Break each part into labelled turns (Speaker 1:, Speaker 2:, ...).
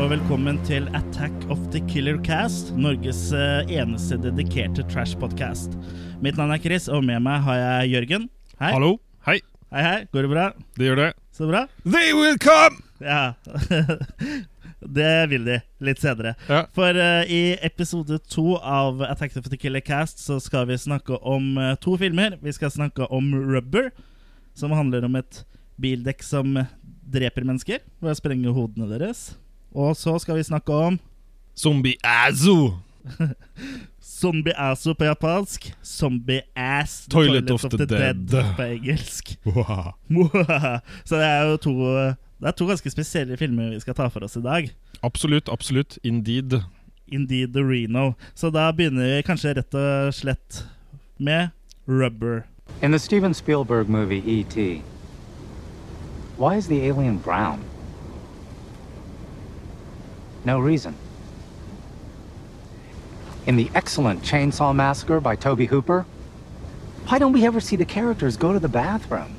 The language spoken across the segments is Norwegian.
Speaker 1: og velkommen til Attack of the Killer Cast, Norges eh, eneste dedikerte trash-podkast. Mitt navn er Chris, og med meg har jeg Jørgen. Hei.
Speaker 2: Hallo. Hei.
Speaker 1: Hei, hei. Går det bra?
Speaker 2: Det gjør det.
Speaker 1: Så bra?
Speaker 2: They will come!
Speaker 1: Ja. det vil de litt senere.
Speaker 2: Ja.
Speaker 1: For eh, i episode to av Attack of the Killer Cast så skal vi snakke om eh, to filmer. Vi skal snakke om Rubber, som handler om et bildekk som dreper mennesker ved å sprenge hodene deres. Og så skal vi snakke om
Speaker 2: Zombie Azu.
Speaker 1: Zombie Asso på japansk. Zombie Ass The
Speaker 2: Toilet of the Dead.
Speaker 1: på engelsk.
Speaker 2: Wow.
Speaker 1: så det er jo to Det er to ganske spesielle filmer vi skal ta for oss i dag.
Speaker 2: Absolutt, absolutt. Indeed.
Speaker 1: Indeed the Reno. Så da begynner vi kanskje rett og slett med Rubber.
Speaker 3: In the Steven Spielberg movie E.T., why is the alien brown? No reason. In the excellent Chainsaw Massacre by Toby Hooper, why don't we ever see the characters go to the bathroom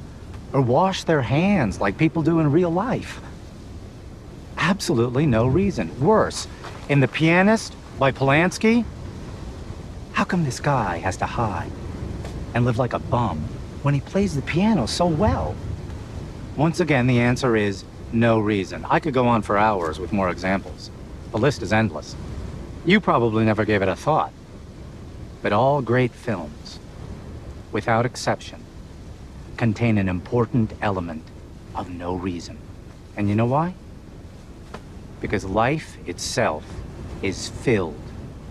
Speaker 3: or wash their hands like people do in real life? Absolutely no reason. Worse, in The Pianist by Polanski, how come this guy has to hide? and live like a bum when he plays the piano so well? Once again, the answer is no reason. I could go on for hours with more examples. The list is endless. You probably never gave it a thought. But all great films, without exception, contain an important element of no reason. And you know why? Because life itself is filled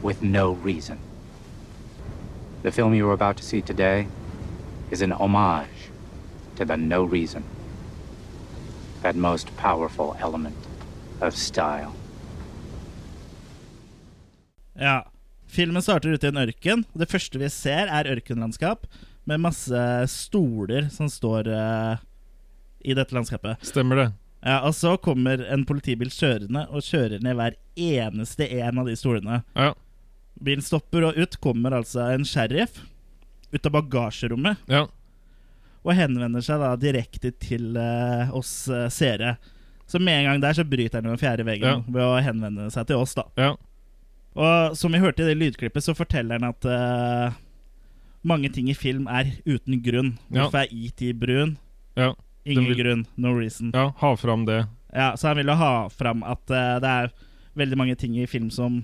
Speaker 3: with no reason. The film you are about to see today is an homage to the no reason, that most powerful element of style.
Speaker 1: Ja. Filmen starter ute i en ørken. og Det første vi ser, er ørkenlandskap med masse stoler som står eh, i dette landskapet.
Speaker 2: Stemmer det.
Speaker 1: Ja, og så kommer en politibil kjørende og kjører ned hver eneste en av de stolene.
Speaker 2: Ja.
Speaker 1: Bilen stopper, og ut kommer altså en sheriff ut av bagasjerommet
Speaker 2: ja.
Speaker 1: og henvender seg da direkte til eh, oss eh, seere. Så med en gang der så bryter han den fjerde veggen
Speaker 2: Ja.
Speaker 1: ved å henvende seg til oss, da.
Speaker 2: ja.
Speaker 1: Og som vi hørte i det lydklippet, så forteller han at eh, mange ting i film er uten grunn.
Speaker 2: Ja.
Speaker 1: Hvorfor er ET brun?
Speaker 2: ja. Den
Speaker 1: Ingen
Speaker 2: vil-
Speaker 1: grunn, no reason.
Speaker 2: ja. Ha fram det.
Speaker 1: Ja, så han ville ha fram at eh, det er veldig mange ting i film som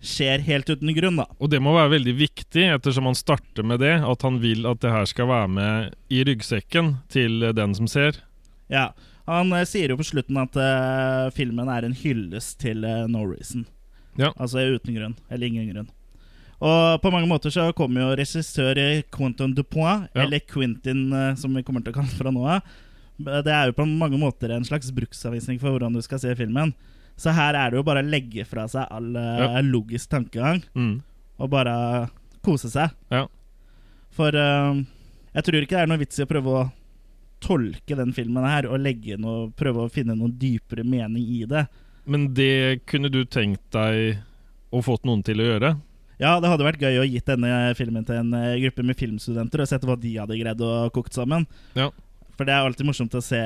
Speaker 1: skjer helt uten grunn, da.
Speaker 2: Og det må være veldig viktig, ettersom han starter med det, at han vil at det her skal være med i ryggsekken til eh, den som ser.
Speaker 1: Ja. Han eh, sier jo på slutten at eh, filmen er en hyllest til eh, no reason.
Speaker 2: Ja.
Speaker 1: Altså uten grunn, eller ingen grunn. Og på mange måter så kommer jo regissør eh, Quentin Dupois,
Speaker 2: Ja.
Speaker 1: eller Quentin eh, som vi kommer til å kalle han fra nå av. Det er jo på mange måter en slags bruksanvisning for hvordan du skal se filmen. Så her er det jo bare å legge fra seg all eh, logisk tankegang.
Speaker 2: Mm.
Speaker 1: og bare kose seg.
Speaker 2: Ja.
Speaker 1: For eh, jeg tror ikke det er noe vits i å prøve å tolke den filmen her og legge noe, prøve å finne noen dypere mening i det.
Speaker 2: Men det kunne du tenkt deg å fått noen til å gjøre?
Speaker 1: Ja, det hadde vært gøy å gitt denne filmen til en eh, gruppe med filmstudenter og sett hva de hadde greid å kokt sammen.
Speaker 2: Ja.
Speaker 1: For det er alltid morsomt å se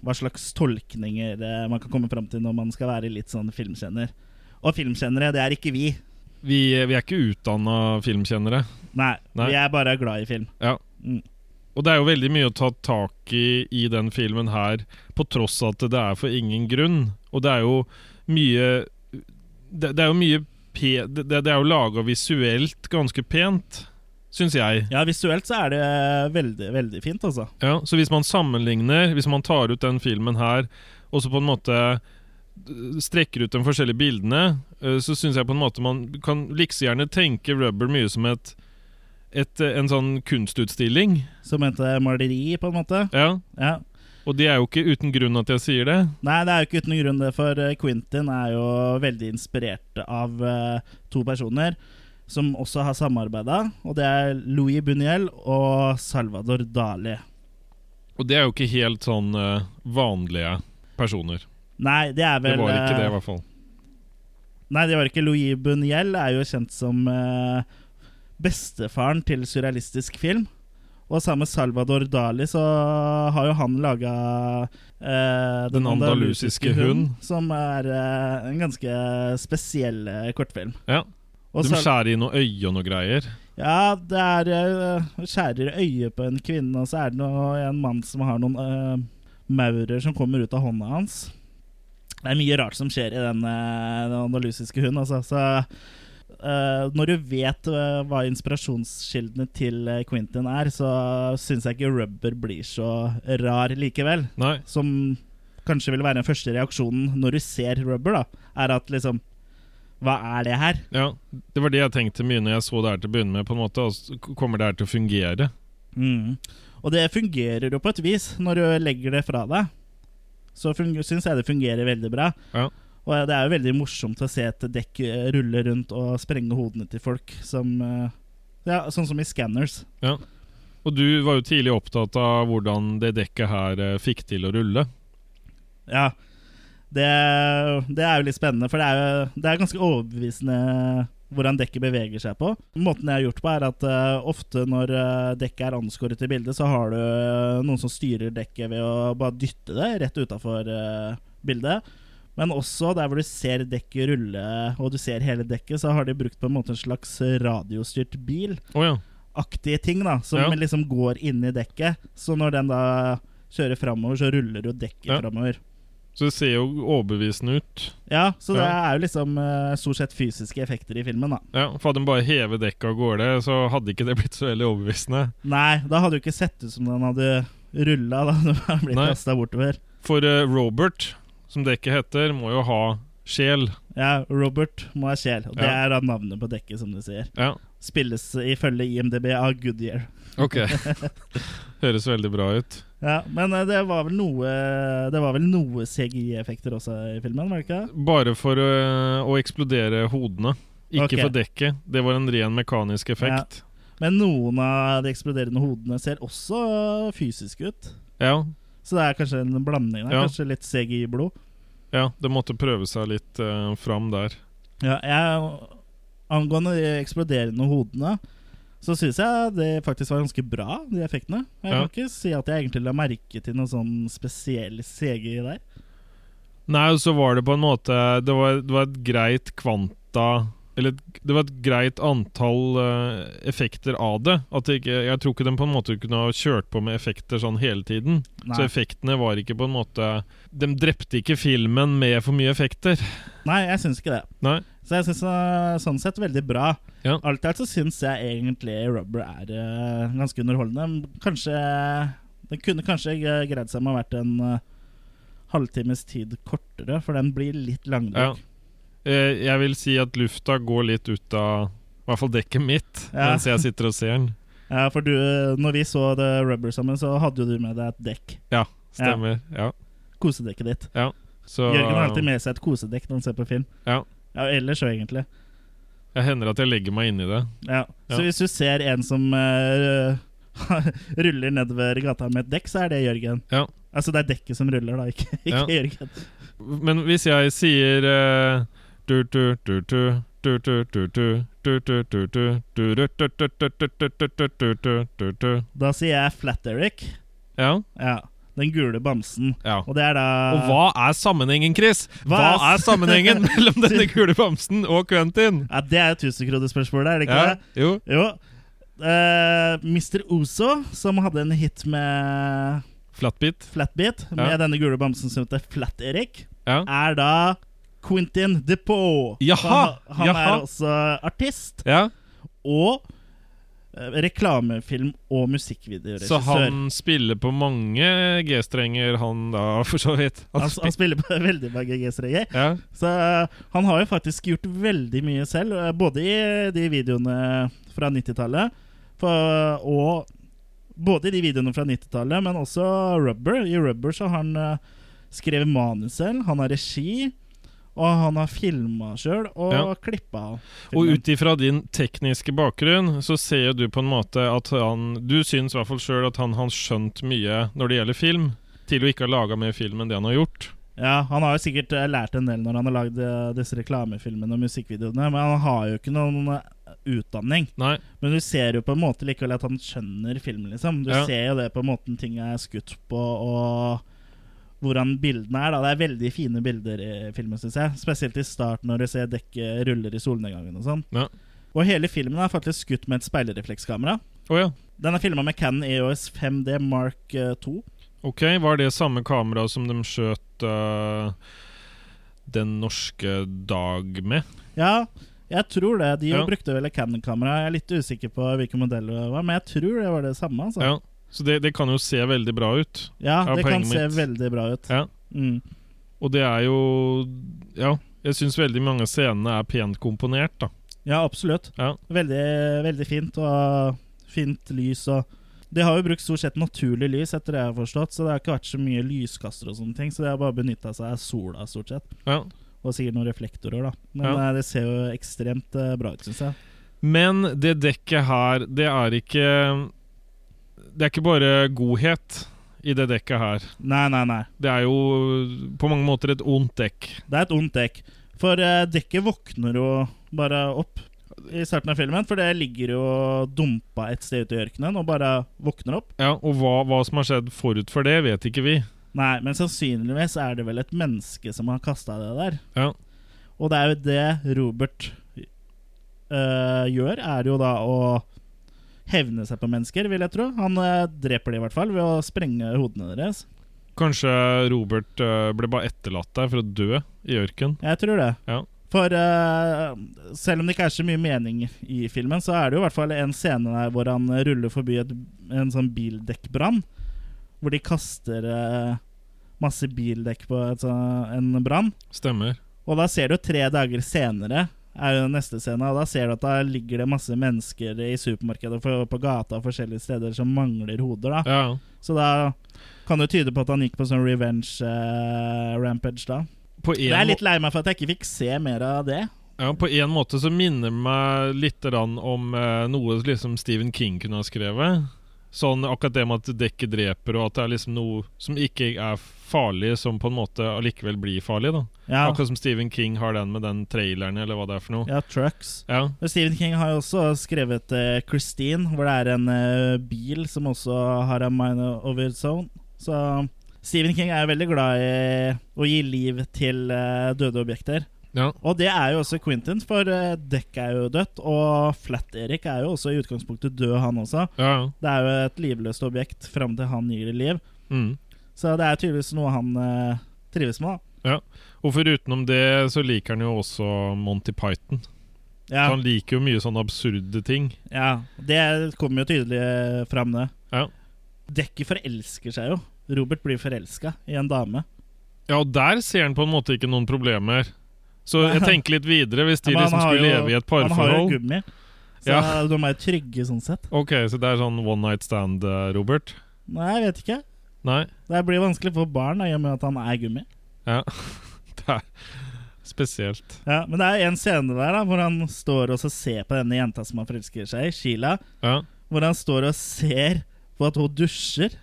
Speaker 1: hva slags tolkninger eh, man kan komme fram til når man skal være litt sånn filmkjenner. Og filmkjennere, det er ikke vi.
Speaker 2: Vi, vi er ikke utdanna filmkjennere.
Speaker 1: Nei,
Speaker 2: Nei.
Speaker 1: vi er bare glad i film.
Speaker 2: Ja.
Speaker 1: Mm.
Speaker 2: Og det er jo veldig mye å ta tak i i den filmen her, på tross av at det er for ingen grunn. Og det er jo mye Det, det er jo mye pe, det, det er jo laga visuelt ganske pent, syns jeg.
Speaker 1: Ja, visuelt så er det eh, veldig, veldig fint, altså.
Speaker 2: Ja, så hvis man sammenligner, hvis man tar ut den filmen her, og så på en måte øh, strekker ut de forskjellige bildene, øh, så syns jeg på en måte man kan like gjerne tenke Rubber mye som et, et, øh, en sånn kunstutstilling.
Speaker 1: Som heter maleri, på en måte.
Speaker 2: Ja,
Speaker 1: Ja.
Speaker 2: Og det er jo ikke uten grunn at jeg sier det.
Speaker 1: Nei, det er jo ikke uten grunn, det, for eh, Quentin er jo veldig inspirert av eh, to personer som også har samarbeida, og det er Louis Buniel og Salvador Dali.
Speaker 2: Og det er jo ikke helt sånn eh, vanlige personer.
Speaker 1: Nei, det er
Speaker 2: Det
Speaker 1: vel
Speaker 2: var ikke
Speaker 1: eh,
Speaker 2: det, i hvert fall.
Speaker 1: Nei, det var ikke Louis Buniel er jo kjent som eh, bestefaren til surrealistisk film. Og sammen med Salvador Dali så har jo han laga eh,
Speaker 2: Den andalusiske hund.
Speaker 1: Som er eh, en ganske spesiell eh, kortfilm.
Speaker 2: Ja.
Speaker 1: Og
Speaker 2: De
Speaker 1: Sal-
Speaker 2: skjærer i noe øye og noe greier.
Speaker 1: ja, det er eh, skjærer øyet på en kvinne, og så er det noe, en mann som har noen eh, maurer som kommer ut av hånda hans. Det er mye rart som skjer i den, eh, den andalusiske hunden. Altså. Så, eh, når du vet eh, hva inspirasjonskildene til eh, Quentin er, så syns jeg ikke Rubber blir så rar likevel
Speaker 2: Nei.
Speaker 1: som kanskje vil være den første reaksjonen når du ser Rubber, da, er at liksom Hva er det her?
Speaker 2: Ja. Det var det jeg tenkte mye når jeg så det her til å begynne med. på en måte altså, Kommer det her til å fungere?
Speaker 1: Mm. Og det fungerer jo på et vis når du legger det fra deg. Så syns jeg det fungerer veldig bra.
Speaker 2: Ja.
Speaker 1: Og det er jo veldig morsomt å se et dekk eh, rulle rundt og sprenge hodene til folk, som eh, Ja, sånn som i Scanners.
Speaker 2: Og du var jo tidlig opptatt av hvordan det dekket her eh, fikk til å rulle.
Speaker 1: Ja. Det, det er jo litt spennende, for det er, jo, det er ganske overbevisende hvordan dekket beveger seg på. Måten jeg har gjort på, er at eh, ofte når eh, dekket er anskåret i bildet, så har du eh, noen som styrer dekket ved å bare dytte det rett utafor eh, bildet. Men også der hvor du ser dekket rulle, og du ser hele dekket, så har de brukt på en måte en slags radiostyrt bil
Speaker 2: Å ja.
Speaker 1: aktige ting da som
Speaker 2: Ja.
Speaker 1: liksom går inn i dekket. Så når den da kjører framover, så ruller jo dekket
Speaker 2: Ja.
Speaker 1: framover.
Speaker 2: Så det ser jo overbevisende ut.
Speaker 1: Ja, så det
Speaker 2: Ja.
Speaker 1: er jo liksom eh, stort sett fysiske effekter i filmen, da.
Speaker 2: Ja, For hadde de bare hevet dekket av gårde, så hadde ikke det blitt så veldig overbevisende.
Speaker 1: Nei, da hadde det jo ikke sett ut som den hadde rulla da når den hadde blitt
Speaker 2: Nei.
Speaker 1: kasta bortover.
Speaker 2: For eh, Robert, som dekket heter, må jo ha sjel.
Speaker 1: Ja, Robert må ha sjel. Og det
Speaker 2: Ja.
Speaker 1: er da navnet på dekket, som du sier.
Speaker 2: Ja,
Speaker 1: Spilles ifølge IMDb av Goodyear.
Speaker 2: ok. Høres veldig bra ut.
Speaker 1: Ja, men eh, det var vel noe Det var vel noe CGI-effekter også i filmen, var det ikke? det?
Speaker 2: Bare for eh, å eksplodere hodene. Ikke
Speaker 1: Ok.
Speaker 2: for dekket. Det var en ren mekanisk effekt.
Speaker 1: Men noen av de eksploderende hodene ser også fysiske ut.
Speaker 2: Ja.
Speaker 1: Så det er kanskje en blanding der.
Speaker 2: Ja.
Speaker 1: Kanskje litt CGI-blod.
Speaker 2: ja, det måtte prøve seg litt eh, fram der.
Speaker 1: Ja, jeg, angående de eksploderende hodene, så syns jeg det faktisk var ganske bra, de effektene. Jeg
Speaker 2: Ja.
Speaker 1: kan ikke si at jeg egentlig la merke til noe sånn spesiell CGI der.
Speaker 2: Nei, og så var det på en måte Det var, det var et greit kvanta Eller et, det var et greit antall eh, effekter av det. At det ikke, jeg tror ikke de på en måte kunne ha kjørt på med effekter sånn hele tiden. Så
Speaker 1: Nei,
Speaker 2: effektene var ikke på en måte De drepte ikke filmen med for mye effekter.
Speaker 1: Nei jeg syns ikke det.
Speaker 2: Nei.
Speaker 1: Så jeg syns sånn sett veldig bra.
Speaker 2: Ja.
Speaker 1: Alt i alt så syns jeg egentlig Rubber er eh, ganske underholdende. Kanskje Den kunne kanskje eh, greid seg med å ha vært en eh, halvtimes tid kortere, for den blir litt
Speaker 2: Ja.
Speaker 1: langdrukk.
Speaker 2: Eh, jeg vil si at lufta går litt ut av I hvert fall dekket mitt
Speaker 1: Ja.
Speaker 2: mens jeg sitter og ser den.
Speaker 1: Ja. for du, eh, når vi så The Rubber sammen, så hadde jo du med deg et dekk.
Speaker 2: Stemmer. Ja.
Speaker 1: Kosedekket ditt.
Speaker 2: Så
Speaker 1: Jørgen har alltid med seg et kosedekk når han ser på film.
Speaker 2: Ja.
Speaker 1: ja ellers òg, egentlig.
Speaker 2: jeg hender at jeg legger meg inn i det.
Speaker 1: Ja. Så
Speaker 2: Ja.
Speaker 1: hvis du ser en som eh, ruller nedover gata med et dekk, så er det Jørgen.
Speaker 2: Ja.
Speaker 1: Altså det er dekket som ruller, da, ikke, ikke
Speaker 2: Ja.
Speaker 1: Jørgen.
Speaker 2: Men hvis jeg sier eh, du, du, du, du, du, du, du, du, du, du, du, du, du, du, du, du, du, du, du, du, du, du, du, du, du.
Speaker 1: Da sier jeg Flat-Eric.
Speaker 2: Ja.
Speaker 1: Ja. Den gule bamsen.
Speaker 2: ja.
Speaker 1: Og det er da
Speaker 2: Og hva er sammenhengen, Chris? Hva
Speaker 1: Hva er-
Speaker 2: er sammenhengen mellom denne gule bamsen og Quentin?
Speaker 1: Ja, Det er jo tusenkronerspørsmålet, er det ikke
Speaker 2: Ja,
Speaker 1: det?
Speaker 2: jo.
Speaker 1: Jo. Eh, Mr. Ozo, som hadde en hit med
Speaker 2: Flatbit.
Speaker 1: Flatbeat, med
Speaker 2: Ja.
Speaker 1: denne gule bamsen som heter Flat-Erik,
Speaker 2: Ja.
Speaker 1: er da Quentin DePoe.
Speaker 2: Jaha,
Speaker 1: Så han han
Speaker 2: jaha.
Speaker 1: er også artist.
Speaker 2: ja.
Speaker 1: og eh, reklamefilm og musikkvideoregissør.
Speaker 2: Så han spiller på mange G-strenger, han da, for så vidt. Han
Speaker 1: han, han
Speaker 2: spil-
Speaker 1: spiller på veldig mange G-strenger.
Speaker 2: ja.
Speaker 1: Så eh, han har jo faktisk gjort veldig mye selv, eh, både i de videoene fra 90-tallet for- og Både i de videoene fra 90-tallet, men også Rubber. I Rubber så har han eh, skrevet manus selv, han har regi, og han har filma sjøl og
Speaker 2: Ja.
Speaker 1: klippa av.
Speaker 2: Og
Speaker 1: filmen.
Speaker 2: ut ifra din tekniske bakgrunn, så ser jo du på en måte at han Du syns i hvert fall sjøl at han har skjønt mye når det gjelder film, til å ikke ha laga mer film enn det han har gjort.
Speaker 1: Ja, Han har jo sikkert eh, lært en del når han har lagd eh, disse reklamefilmene og musikkvideoene, men han har jo ikke noen utdanning.
Speaker 2: Nei.
Speaker 1: Men du ser jo på en måte likevel at han skjønner filmen, liksom. Du
Speaker 2: Ja.
Speaker 1: ser jo det på måten ting er skutt på, og hvordan bildene er. da Det er veldig fine bilder i filmen, syns jeg. Spesielt i starten, når du ser dekket ruller i solnedgangen og sånn.
Speaker 2: Ja.
Speaker 1: Og hele filmen er faktisk skutt med et speilreflekskamera.
Speaker 2: Å ja.
Speaker 1: Den er filma med Canon E EOS 5D Mark eh, 2.
Speaker 2: Ok, var det samme kamera som de skjøt øh, Den norske dag med?
Speaker 1: Ja, jeg tror det. De jo
Speaker 2: Ja.
Speaker 1: brukte vel et Canon-kamera. Jeg er litt usikker på hvilken modell det var, men jeg tror det var det samme. Altså.
Speaker 2: Ja. Så det, det kan jo se veldig bra ut.
Speaker 1: Ja,
Speaker 2: Ja,
Speaker 1: det kan
Speaker 2: poenget
Speaker 1: se
Speaker 2: mitt.
Speaker 1: veldig bra ut.
Speaker 2: Ja.
Speaker 1: Mm.
Speaker 2: Og det er jo Ja. Jeg syns veldig mange av scenene er pent komponert, da.
Speaker 1: ja absolutt.
Speaker 2: Ja.
Speaker 1: Veldig, veldig fint, og fint lys og De har jo brukt stort sett naturlig lys, etter det jeg har forstått, så det har ikke vært så mye lyskaster og sånne ting, så de har bare benytta seg av sola, stort sett.
Speaker 2: ja.
Speaker 1: Og sikkert noen reflektorer, da. Men
Speaker 2: Ja.
Speaker 1: eh, det ser jo ekstremt eh, bra ut, syns jeg.
Speaker 2: Men det dekket her, det er ikke Det er ikke bare godhet i det dekket her.
Speaker 1: Nei, nei, nei.
Speaker 2: Det er jo på mange måter et ondt dekk.
Speaker 1: Det er et ondt dekk. For eh, dekket våkner jo bare opp i starten av filmen. For det ligger jo dumpa et sted ute i ørkenen og bare våkner opp.
Speaker 2: Ja, Og hva, hva som har skjedd forut for det, vet ikke vi.
Speaker 1: Nei, men sannsynligvis er det vel et menneske som har kasta det der.
Speaker 2: Ja.
Speaker 1: Og det er jo det Robert eh, gjør, er jo da å hevne seg på mennesker, vil jeg tro. Han eh, dreper de i hvert fall ved å sprenge hodene deres.
Speaker 2: Kanskje Robert øh, ble bare etterlatt der for å dø i ørken.
Speaker 1: Jeg tror det.
Speaker 2: Ja.
Speaker 1: For eh, selv om det ikke er så mye mening i filmen, så er det jo i hvert fall en scene der hvor han ruller forbi et, en sånn bildekkbrann. Hvor de kaster eh, masse bildekk på et, sånn- en brann.
Speaker 2: Stemmer.
Speaker 1: Og da ser du tre dager senere er jo den neste scene, og da ser du at da ligger det masse mennesker i supermarkedet for, på gata og forskjellige steder som mangler hoder. da
Speaker 2: Ja, ja.
Speaker 1: Så da kan det jo tyde på at han gikk på sånn revenge eh, rampage da.
Speaker 2: På en,
Speaker 1: Jeg er
Speaker 2: må-
Speaker 1: litt lei meg for at jeg ikke fikk se mer av det.
Speaker 2: ja, på en måte så minner det meg litt grann om eh, noe liksom Stephen King kunne ha skrevet. Sånn akkurat det med at dekket dreper, og at det er liksom noe som ikke er farlig, som på en måte allikevel blir farlig. da
Speaker 1: Ja,
Speaker 2: Akkurat som Stephen King har den med den traileren, eller hva det er for noe.
Speaker 1: ja trucks.
Speaker 2: Ja,
Speaker 1: Men Stephen King har jo også skrevet eh, 'Christine', hvor det er en eh, bil som også har en mind over its own. Så Stephen King er jo veldig glad i å gi liv til eh, døde objekter.
Speaker 2: ja.
Speaker 1: Og det er jo også Quentin, for eh, Deck er jo dødt, og Flat-Erik er jo også i utgangspunktet død, han også.
Speaker 2: ja, ja.
Speaker 1: Det er jo et livløst objekt fram til han gir det liv.
Speaker 2: Mm.
Speaker 1: Så det er tydeligvis noe han eh, trives med, da.
Speaker 2: Og forutenom det så liker han jo også Monty Python.
Speaker 1: Ja.
Speaker 2: Så han liker jo mye sånne absurde ting.
Speaker 1: Ja, det kommer jo tydelig fram, det.
Speaker 2: Ja.
Speaker 1: Dekket forelsker seg jo. Robert blir forelska i en dame.
Speaker 2: Ja, og der ser han på en måte ikke noen problemer. Så jeg tenker litt videre, hvis de
Speaker 1: Men han
Speaker 2: liksom
Speaker 1: har
Speaker 2: skulle
Speaker 1: jo-
Speaker 2: leve i et
Speaker 1: Han har jo
Speaker 2: parforhold.
Speaker 1: gummi, så
Speaker 2: Ja.
Speaker 1: de er jo trygge sånn sett.
Speaker 2: Ok, så det er sånn one night stand, eh, Robert?
Speaker 1: Nei, jeg vet ikke.
Speaker 2: Nei?
Speaker 1: Det blir vanskelig for barn da, i og med at han er gummi.
Speaker 2: Ja. Det er spesielt.
Speaker 1: Ja, Men det er en scene der da hvor han står og så ser på denne jenta som han forelsker seg i, Sheila.
Speaker 2: Ja.
Speaker 1: Hvor han står og ser på at hun dusjer.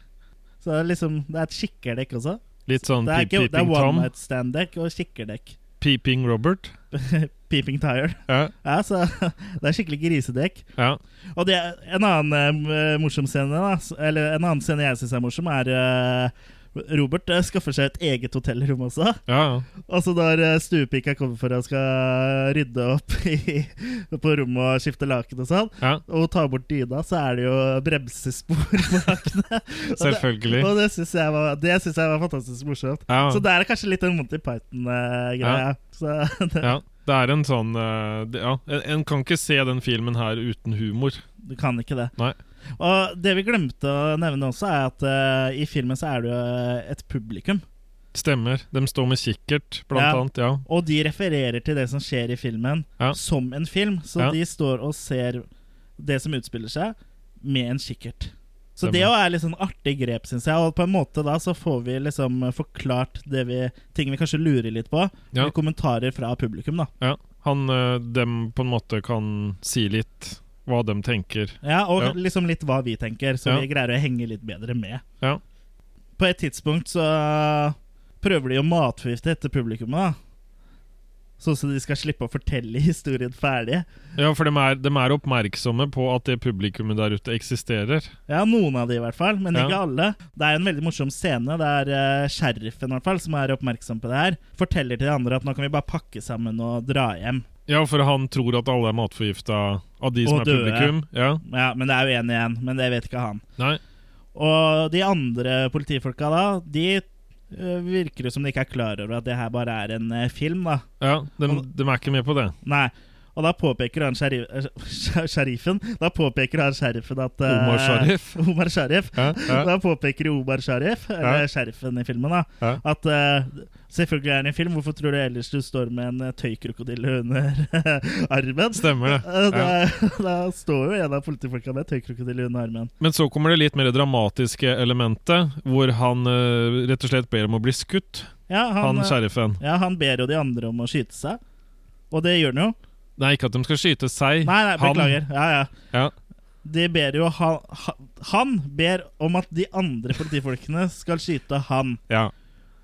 Speaker 1: Så det er liksom Det er et kikkerdekk også.
Speaker 2: Litt sånn
Speaker 1: Det er,
Speaker 2: peep,
Speaker 1: ikke, det er
Speaker 2: peeping Tom.
Speaker 1: one night stand-dekk og kikkerdekk.
Speaker 2: Peeping Robert.
Speaker 1: Peeping tire.
Speaker 2: Ja.
Speaker 1: Ja, så Det er skikkelig grisedekk.
Speaker 2: ja.
Speaker 1: Og det, en annen eh, morsom scene da, s- Eller en annen scene jeg syns er morsom, er eh, Robert eh, skaffer seg et eget hotellrom også.
Speaker 2: ja.
Speaker 1: Altså Når eh, stuepika kommer for og skal rydde opp i, på rommet og skifte laken og sånn,
Speaker 2: ja.
Speaker 1: og hun tar bort dyna, så er det jo bremsespor på lakenet. Og det-
Speaker 2: Selvfølgelig.
Speaker 1: Og det syns jeg, var- det synes jeg var fantastisk morsomt.
Speaker 2: Ja.
Speaker 1: Så det er kanskje litt den Monty Python-greia. Så det,
Speaker 2: ja. Det er en sånn eh, det, Ja, en, en kan ikke se den filmen her uten humor.
Speaker 1: Du kan ikke det.
Speaker 2: Nei.
Speaker 1: Og det vi glemte å nevne også, er at eh, i filmen så er det jo et publikum.
Speaker 2: Stemmer. De står med kikkert, blant
Speaker 1: Ja.
Speaker 2: annet. Ja.
Speaker 1: Og de refererer til det som skjer i filmen,
Speaker 2: Ja.
Speaker 1: som en film. Så
Speaker 2: Ja.
Speaker 1: de står og ser det som utspiller seg, med en kikkert. Så
Speaker 2: Stemmer.
Speaker 1: det òg er litt sånn artig grep, syns jeg. Og på en måte da så får vi liksom forklart det vi, ting vi kanskje lurer litt på,
Speaker 2: Ja.
Speaker 1: med kommentarer fra publikum, da.
Speaker 2: Ja, han eh, dem på en måte kan si litt hva de tenker.
Speaker 1: Ja, og
Speaker 2: Ja.
Speaker 1: liksom litt hva vi tenker, så
Speaker 2: Ja.
Speaker 1: vi greier å henge litt bedre med.
Speaker 2: Ja.
Speaker 1: På et tidspunkt så prøver de å matforgifte dette publikummet, da. Sånn at de skal slippe å fortelle historien ferdig.
Speaker 2: Ja, for de er, de er oppmerksomme på at det publikummet der ute eksisterer.
Speaker 1: Ja, noen av de i hvert fall, men
Speaker 2: Ja.
Speaker 1: ikke alle. Det er en veldig morsom scene der uh, sheriffen i hvert fall, som er oppmerksom på det her, forteller til de andre at nå kan vi bare pakke sammen og dra hjem.
Speaker 2: Ja, for han tror at alle er matforgifta av de som
Speaker 1: Og
Speaker 2: er
Speaker 1: døde.
Speaker 2: publikum. Ja,
Speaker 1: Ja, Men det er jo én igjen, men det vet ikke han.
Speaker 2: nei
Speaker 1: Og de andre politifolka da, de eh, virker jo som de ikke er klar over at det her bare er en eh, film, da.
Speaker 2: ja, de, de er ikke med på det.
Speaker 1: Nei. Og da påpeker han sherif, eh, sheriffen Da påpeker han sheriffen at eh,
Speaker 2: Omar Sharif?
Speaker 1: Omar Sharif.
Speaker 2: Ja, ja,
Speaker 1: Da påpeker jo Omar Sharif, eller
Speaker 2: Ja.
Speaker 1: sheriffen i filmen, da,
Speaker 2: ja.
Speaker 1: at eh, selvfølgelig er det en film. Hvorfor tror du ellers du står med en eh, tøykrokodille under eh, armen?
Speaker 2: Stemmer
Speaker 1: Eh,
Speaker 2: det.
Speaker 1: Da,
Speaker 2: Ja.
Speaker 1: da står jo en av politifolka med tøykrokodille under armen.
Speaker 2: Men så kommer det litt mer dramatiske elementet, hvor han eh, rett og slett ber om å bli skutt,
Speaker 1: Ja, han,
Speaker 2: han
Speaker 1: eh,
Speaker 2: sheriffen.
Speaker 1: ja, han ber jo de andre om å skyte seg, og det gjør han jo.
Speaker 2: Nei, ikke at de skal skyte seg.
Speaker 1: Nei, nei,
Speaker 2: Han.
Speaker 1: beklager. Ja, ja.
Speaker 2: Ja.
Speaker 1: De ber jo han, han ber om at de andre politifolkene skal skyte han.
Speaker 2: Ja.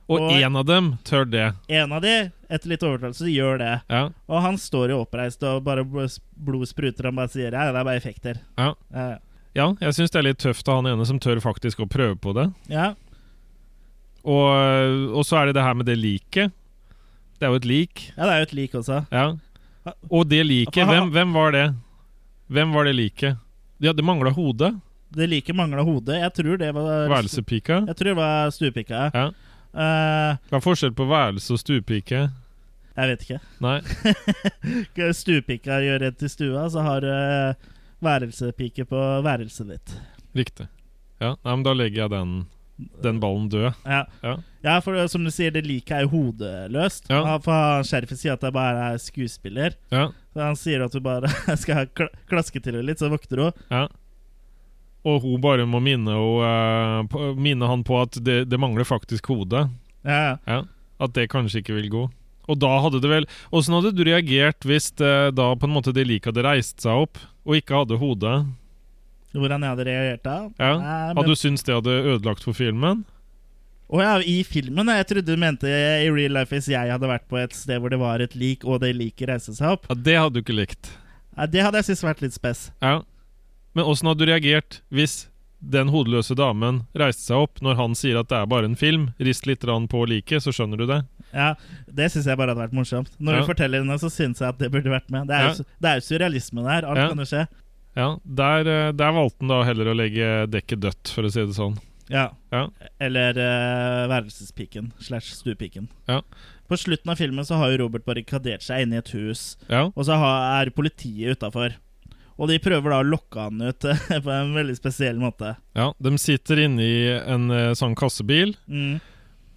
Speaker 2: Og
Speaker 1: Og-
Speaker 2: én av dem tør det.
Speaker 1: En av de, etter litt overtalelse, gjør det.
Speaker 2: Ja.
Speaker 1: Og han står jo oppreist og bare bl- blod spruter. Han bare sier ja, det er bare effekter.
Speaker 2: Ja.
Speaker 1: Ja.
Speaker 2: ja, jeg syns det er litt tøft av han ene som tør faktisk å prøve på det.
Speaker 1: ja.
Speaker 2: Og, og så er det det her med det liket. Det er jo et lik.
Speaker 1: ja, det er jo et lik også.
Speaker 2: Ja. Og det liket, hvem, hvem var det? Hvem var det liket? Ja, det mangla hodet.
Speaker 1: Det liket mangla hodet. Jeg tror det var
Speaker 2: Værelsepika.
Speaker 1: Jeg tror det var stuepika.
Speaker 2: Ja.
Speaker 1: Eh,
Speaker 2: Hva er forskjell på værelse og stuepike?
Speaker 1: jeg vet ikke.
Speaker 2: Nei.
Speaker 1: Stuepika gjør rent i stua, så har eh, værelsepike på værelset ditt.
Speaker 2: Riktig. Ja, nei, men da legger jeg den, den ballen død.
Speaker 1: Ja.
Speaker 2: Ja.
Speaker 1: Ja, for det- som du sier, det liket er jo hodeløst.
Speaker 2: Ja.
Speaker 1: Ja. For han Sheriffen sier at det bare er skuespiller.
Speaker 2: Ja,
Speaker 1: Så han sier at du bare skal kla klaske til henne litt, så vokter hun.
Speaker 2: ja. Og hun bare må minne, og, eh, på- minne han på at det, det mangler faktisk hodet.
Speaker 1: Ja,
Speaker 2: Ja, at det kanskje ikke vil gå. Og da hadde det vel Åssen hadde du reagert hvis eh, da på en måte det liket hadde reist seg opp, og ikke hadde hodet?
Speaker 1: Hvordan jeg hadde reagert da?
Speaker 2: Ja.
Speaker 1: Nei, men,
Speaker 2: Hadde du syntes det hadde ødelagt for filmen?
Speaker 1: Å ja, I filmen? ja. Jeg trodde du mente i real life hvis jeg hadde vært på et sted hvor det var et lik, og det liket reiste seg opp.
Speaker 2: Ja, Det hadde du ikke likt.
Speaker 1: Ja, det hadde jeg syntes vært litt spes.
Speaker 2: Ja. Men åssen hadde du reagert hvis den hodeløse damen reiste seg opp når han sier at det er bare en film? Rist litt grann på liket, så skjønner du det.
Speaker 1: Ja, Det syns jeg bare hadde vært morsomt. Når
Speaker 2: Ja.
Speaker 1: du forteller henne, så syns jeg at det burde vært med. Det er jo,
Speaker 2: Ja.
Speaker 1: su- det er jo surrealisme der. Alt
Speaker 2: Ja.
Speaker 1: kan jo skje.
Speaker 2: Ja, der, eh, der valgte han da heller å legge dekket dødt, for å si det sånn.
Speaker 1: Ja.
Speaker 2: Ja.
Speaker 1: Eller eh, værelsespiken slash stuepiken.
Speaker 2: Ja.
Speaker 1: På slutten av filmen så har jo Robert barrikadert seg inne i et hus,
Speaker 2: Ja,
Speaker 1: og så har, er politiet utafor. Og de prøver da å lokke han ut på en veldig spesiell måte.
Speaker 2: ja. De sitter inne i en eh, sånn kassebil.
Speaker 1: Mm.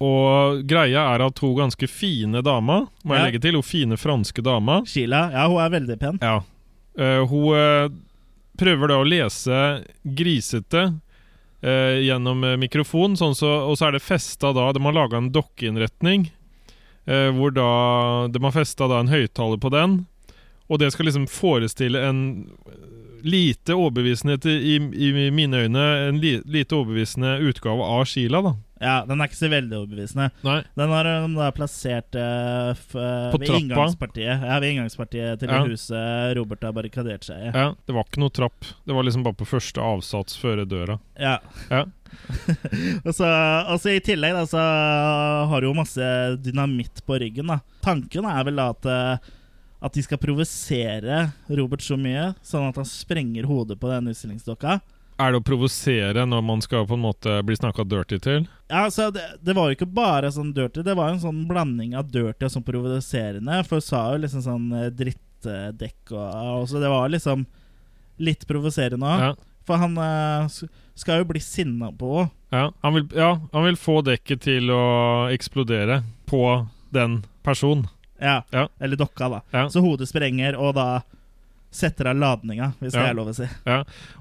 Speaker 2: Og greia er at hun ganske fine dama, må
Speaker 1: Ja.
Speaker 2: jeg legge til, hun fine franske dama
Speaker 1: Sheila, ja, hun er veldig pen.
Speaker 2: Ja. Eh, hun eh, prøver da å lese grisete eh, gjennom eh, mikrofon, sånn så, og så er det festa da De har laga en dokkeinnretning eh, hvor da de har festa da en høyttaler på den, og det skal liksom forestille en eh, lite overbevisende til- i, i, i mine øyne en li, lite overbevisende utgave av Sheila, da.
Speaker 1: Ja, Den er ikke så veldig overbevisende.
Speaker 2: Nei.
Speaker 1: Den har hun da plassert eh, f, eh,
Speaker 2: På
Speaker 1: ved
Speaker 2: trappa.
Speaker 1: inngangspartiet Ja, ved inngangspartiet til det
Speaker 2: Ja.
Speaker 1: huset Robert har barrikadert seg i.
Speaker 2: Ja, det var ikke noe trapp. Det var liksom bare på første avsats føre døra.
Speaker 1: Ja.
Speaker 2: Ja.
Speaker 1: og, så, og så i tillegg da, så har du jo masse dynamitt på ryggen. da Tanken er vel da at, eh, at de skal provosere Robert så mye, sånn at han sprenger hodet på den utstillingsdokka.
Speaker 2: Er det å provosere når man skal på en måte bli snakka dirty til?
Speaker 1: Ja, så det, det var jo ikke bare sånn dirty, det var jo en sånn blanding av dirty og sånn provoserende. For hun sa jo liksom sånn eh, drittdekk og, og så Det var liksom litt provoserende òg.
Speaker 2: Ja.
Speaker 1: For han eh, s- skal jo bli sinna på henne.
Speaker 2: Ja, han vil, ja, han vil få dekket til å eksplodere på den personen.
Speaker 1: Ja.
Speaker 2: Ja.
Speaker 1: Eller dokka, da.
Speaker 2: Ja.
Speaker 1: Så hodet sprenger, og da setter av ladninga, hvis
Speaker 2: Ja.
Speaker 1: det er lov å si.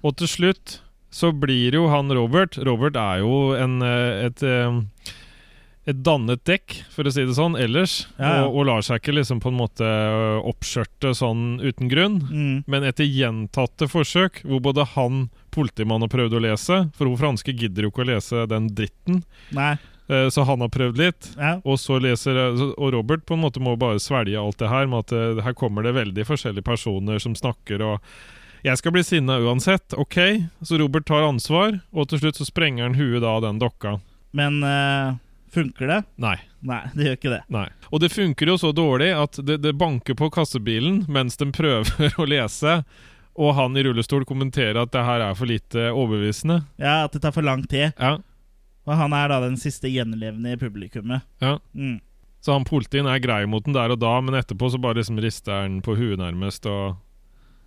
Speaker 2: Og til slutt så blir jo han Robert Robert er jo en, eh, et, eh, et dannet dekk, for å si det sånn, ellers.
Speaker 1: Ja, ja.
Speaker 2: Og, og lar seg ikke liksom på en måte eh, oppskjørte sånn uten grunn.
Speaker 1: Mm.
Speaker 2: Men etter gjentatte forsøk, hvor både han politimannen prøvde å lese For hun franske gidder jo ikke å lese den dritten.
Speaker 1: Nei.
Speaker 2: Eh, Så han har prøvd litt.
Speaker 1: Ja.
Speaker 2: Og så leser jeg- Og Robert på en måte må bare svelge alt det her med at eh, her kommer det veldig forskjellige personer som snakker og Jeg skal bli sinna uansett, OK? Så Robert tar ansvar, og til slutt så sprenger han huet da av den dokka.
Speaker 1: Men eh, funker det?
Speaker 2: Nei.
Speaker 1: Nei, det gjør ikke det.
Speaker 2: Nei. Og det funker jo så dårlig at det, det banker på kassebilen mens de prøver å lese, og han i rullestol kommenterer at det her er for lite overbevisende.
Speaker 1: Ja, At det tar for lang tid.
Speaker 2: Ja,
Speaker 1: Og han er da den siste gjenlevende i publikummet.
Speaker 2: ja.
Speaker 1: Mm.
Speaker 2: Så han politien er grei mot den der og da, men etterpå så bare liksom rister han på huet nærmest, og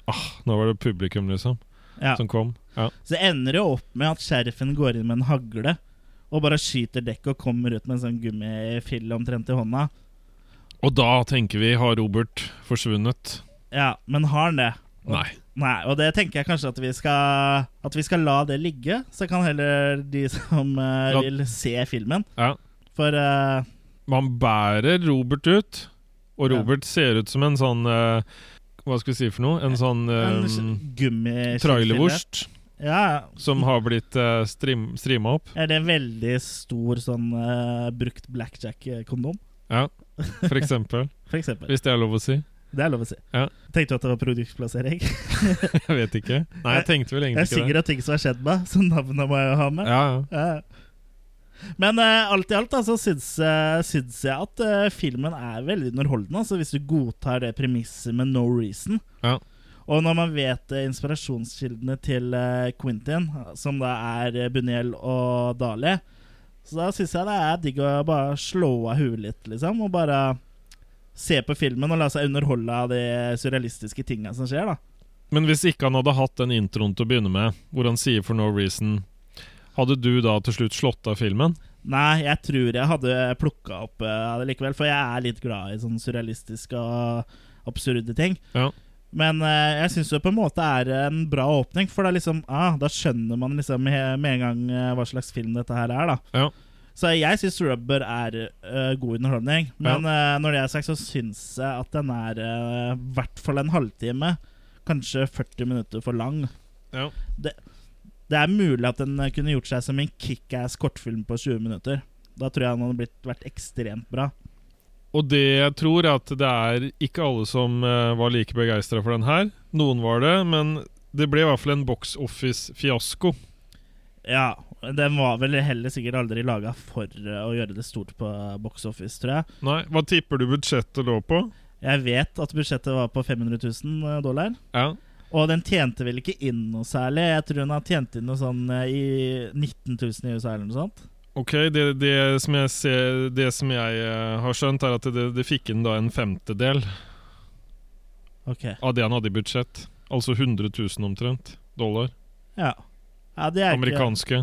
Speaker 2: ah, nå var det publikum, liksom,
Speaker 1: Ja.
Speaker 2: som kom. Ja.
Speaker 1: Så det ender jo opp med at sheriffen går inn med en hagle og bare skyter dekk og kommer ut med en sånn gummifille omtrent i hånda.
Speaker 2: Og da tenker vi, har Robert forsvunnet?
Speaker 1: Ja, men har han det?
Speaker 2: Nei.
Speaker 1: Nei, og det tenker jeg kanskje at vi skal At vi skal la det ligge. Så kan heller de som eh,
Speaker 2: La-
Speaker 1: vil se filmen.
Speaker 2: Ja.
Speaker 1: For eh,
Speaker 2: Man bærer Robert ut, og
Speaker 1: Ja.
Speaker 2: Robert ser ut som en sånn eh, Hva skal vi si for noe? En sånn
Speaker 1: en
Speaker 2: eh,
Speaker 1: gummi
Speaker 2: trailervorst
Speaker 1: Ja,
Speaker 2: som har blitt uh, stream, streama opp.
Speaker 1: er det en veldig stor sånn eh, brukt blackjack-kondom?
Speaker 2: Ja, for eksempel.
Speaker 1: For eksempel.
Speaker 2: Hvis det er lov å si.
Speaker 1: Det er lov å si.
Speaker 2: Ja.
Speaker 1: Tenkte du at det var produktplassering?
Speaker 2: Jeg vet ikke. Nei, jeg tenkte vel
Speaker 1: Jeg
Speaker 2: egentlig ikke det.
Speaker 1: synger av ting som har skjedd meg, så navnet må jeg jo ha med.
Speaker 2: Ja, ja.
Speaker 1: Ja. Men eh, alt i alt da, så syns, eh, syns jeg at eh, filmen er veldig underholdende. Altså, hvis du godtar det premisset med no reason.
Speaker 2: Ja.
Speaker 1: Og når man vet eh, inspirasjonskildene til eh, Quentin, som da er eh, Buniel og Dali, så da syns jeg det er digg å bare slå av huet litt, liksom. Og bare se på filmen og la seg underholde av de surrealistiske tinga som skjer, da.
Speaker 2: Men hvis ikke han hadde hatt den introen til å begynne med, hvor han sier 'for no reason', hadde du da til slutt slått av filmen?
Speaker 1: Nei, jeg tror jeg hadde plukka opp eh, det likevel, for jeg er litt glad i sånn surrealistiske og absurde ting.
Speaker 2: Ja.
Speaker 1: Men eh, jeg syns det på en måte er en bra åpning, for da, liksom, ah, da skjønner man liksom he- med en gang eh, hva slags film dette her er. da
Speaker 2: Ja.
Speaker 1: Så jeg syns Rubber er eh, god underholdning, men eh, når det er sagt, så syns jeg at den er eh, i hvert fall en halvtime, kanskje 40 minutter for lang.
Speaker 2: Ja.
Speaker 1: Det er mulig at den eh, kunne gjort seg som en kickass kortfilm på 20 minutter. Da tror jeg den hadde blitt, vært ekstremt bra.
Speaker 2: Og det jeg tror, er at det er ikke alle som eh, var like begeistra for den her. Noen var det, men det ble i hvert fall en box office-fiasko.
Speaker 1: Ja, Den var vel heller sikkert aldri laga for eh, å gjøre det stort på box office, tror jeg.
Speaker 2: Nei, hva tipper du budsjettet lå på?
Speaker 1: Jeg vet at budsjettet var på 500 000 dollar.
Speaker 2: Ja.
Speaker 1: Og den tjente vel ikke inn noe særlig. Jeg tror den har tjent inn noe sånn eh, i 19 000 i USA eller noe sånt.
Speaker 2: Ok, det, det som jeg, ser, det som jeg eh, har skjønt, er at det, det fikk inn da en femtedel
Speaker 1: Ok,
Speaker 2: av det han hadde i budsjett. Altså 100 000 omtrent dollar.
Speaker 1: ja ja, det er ikke,
Speaker 2: Amerikanske.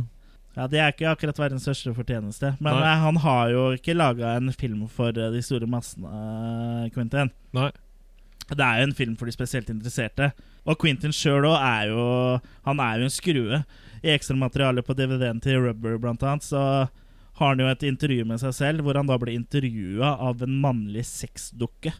Speaker 1: ja, det er ikke akkurat verdens største fortjeneste. Men
Speaker 2: Nei.
Speaker 1: eh, han har jo ikke laga en film for eh, de store massene, eh, Quentin.
Speaker 2: Nei.
Speaker 1: Det er jo en film for de spesielt interesserte. Og Quentin sjøl òg er jo Han er jo en skrue. I ekstramaterialet på DVD-en til Rubber blant annet, så har han jo et intervju med seg selv, hvor han da blir intervjua av en mannlig sexdukke.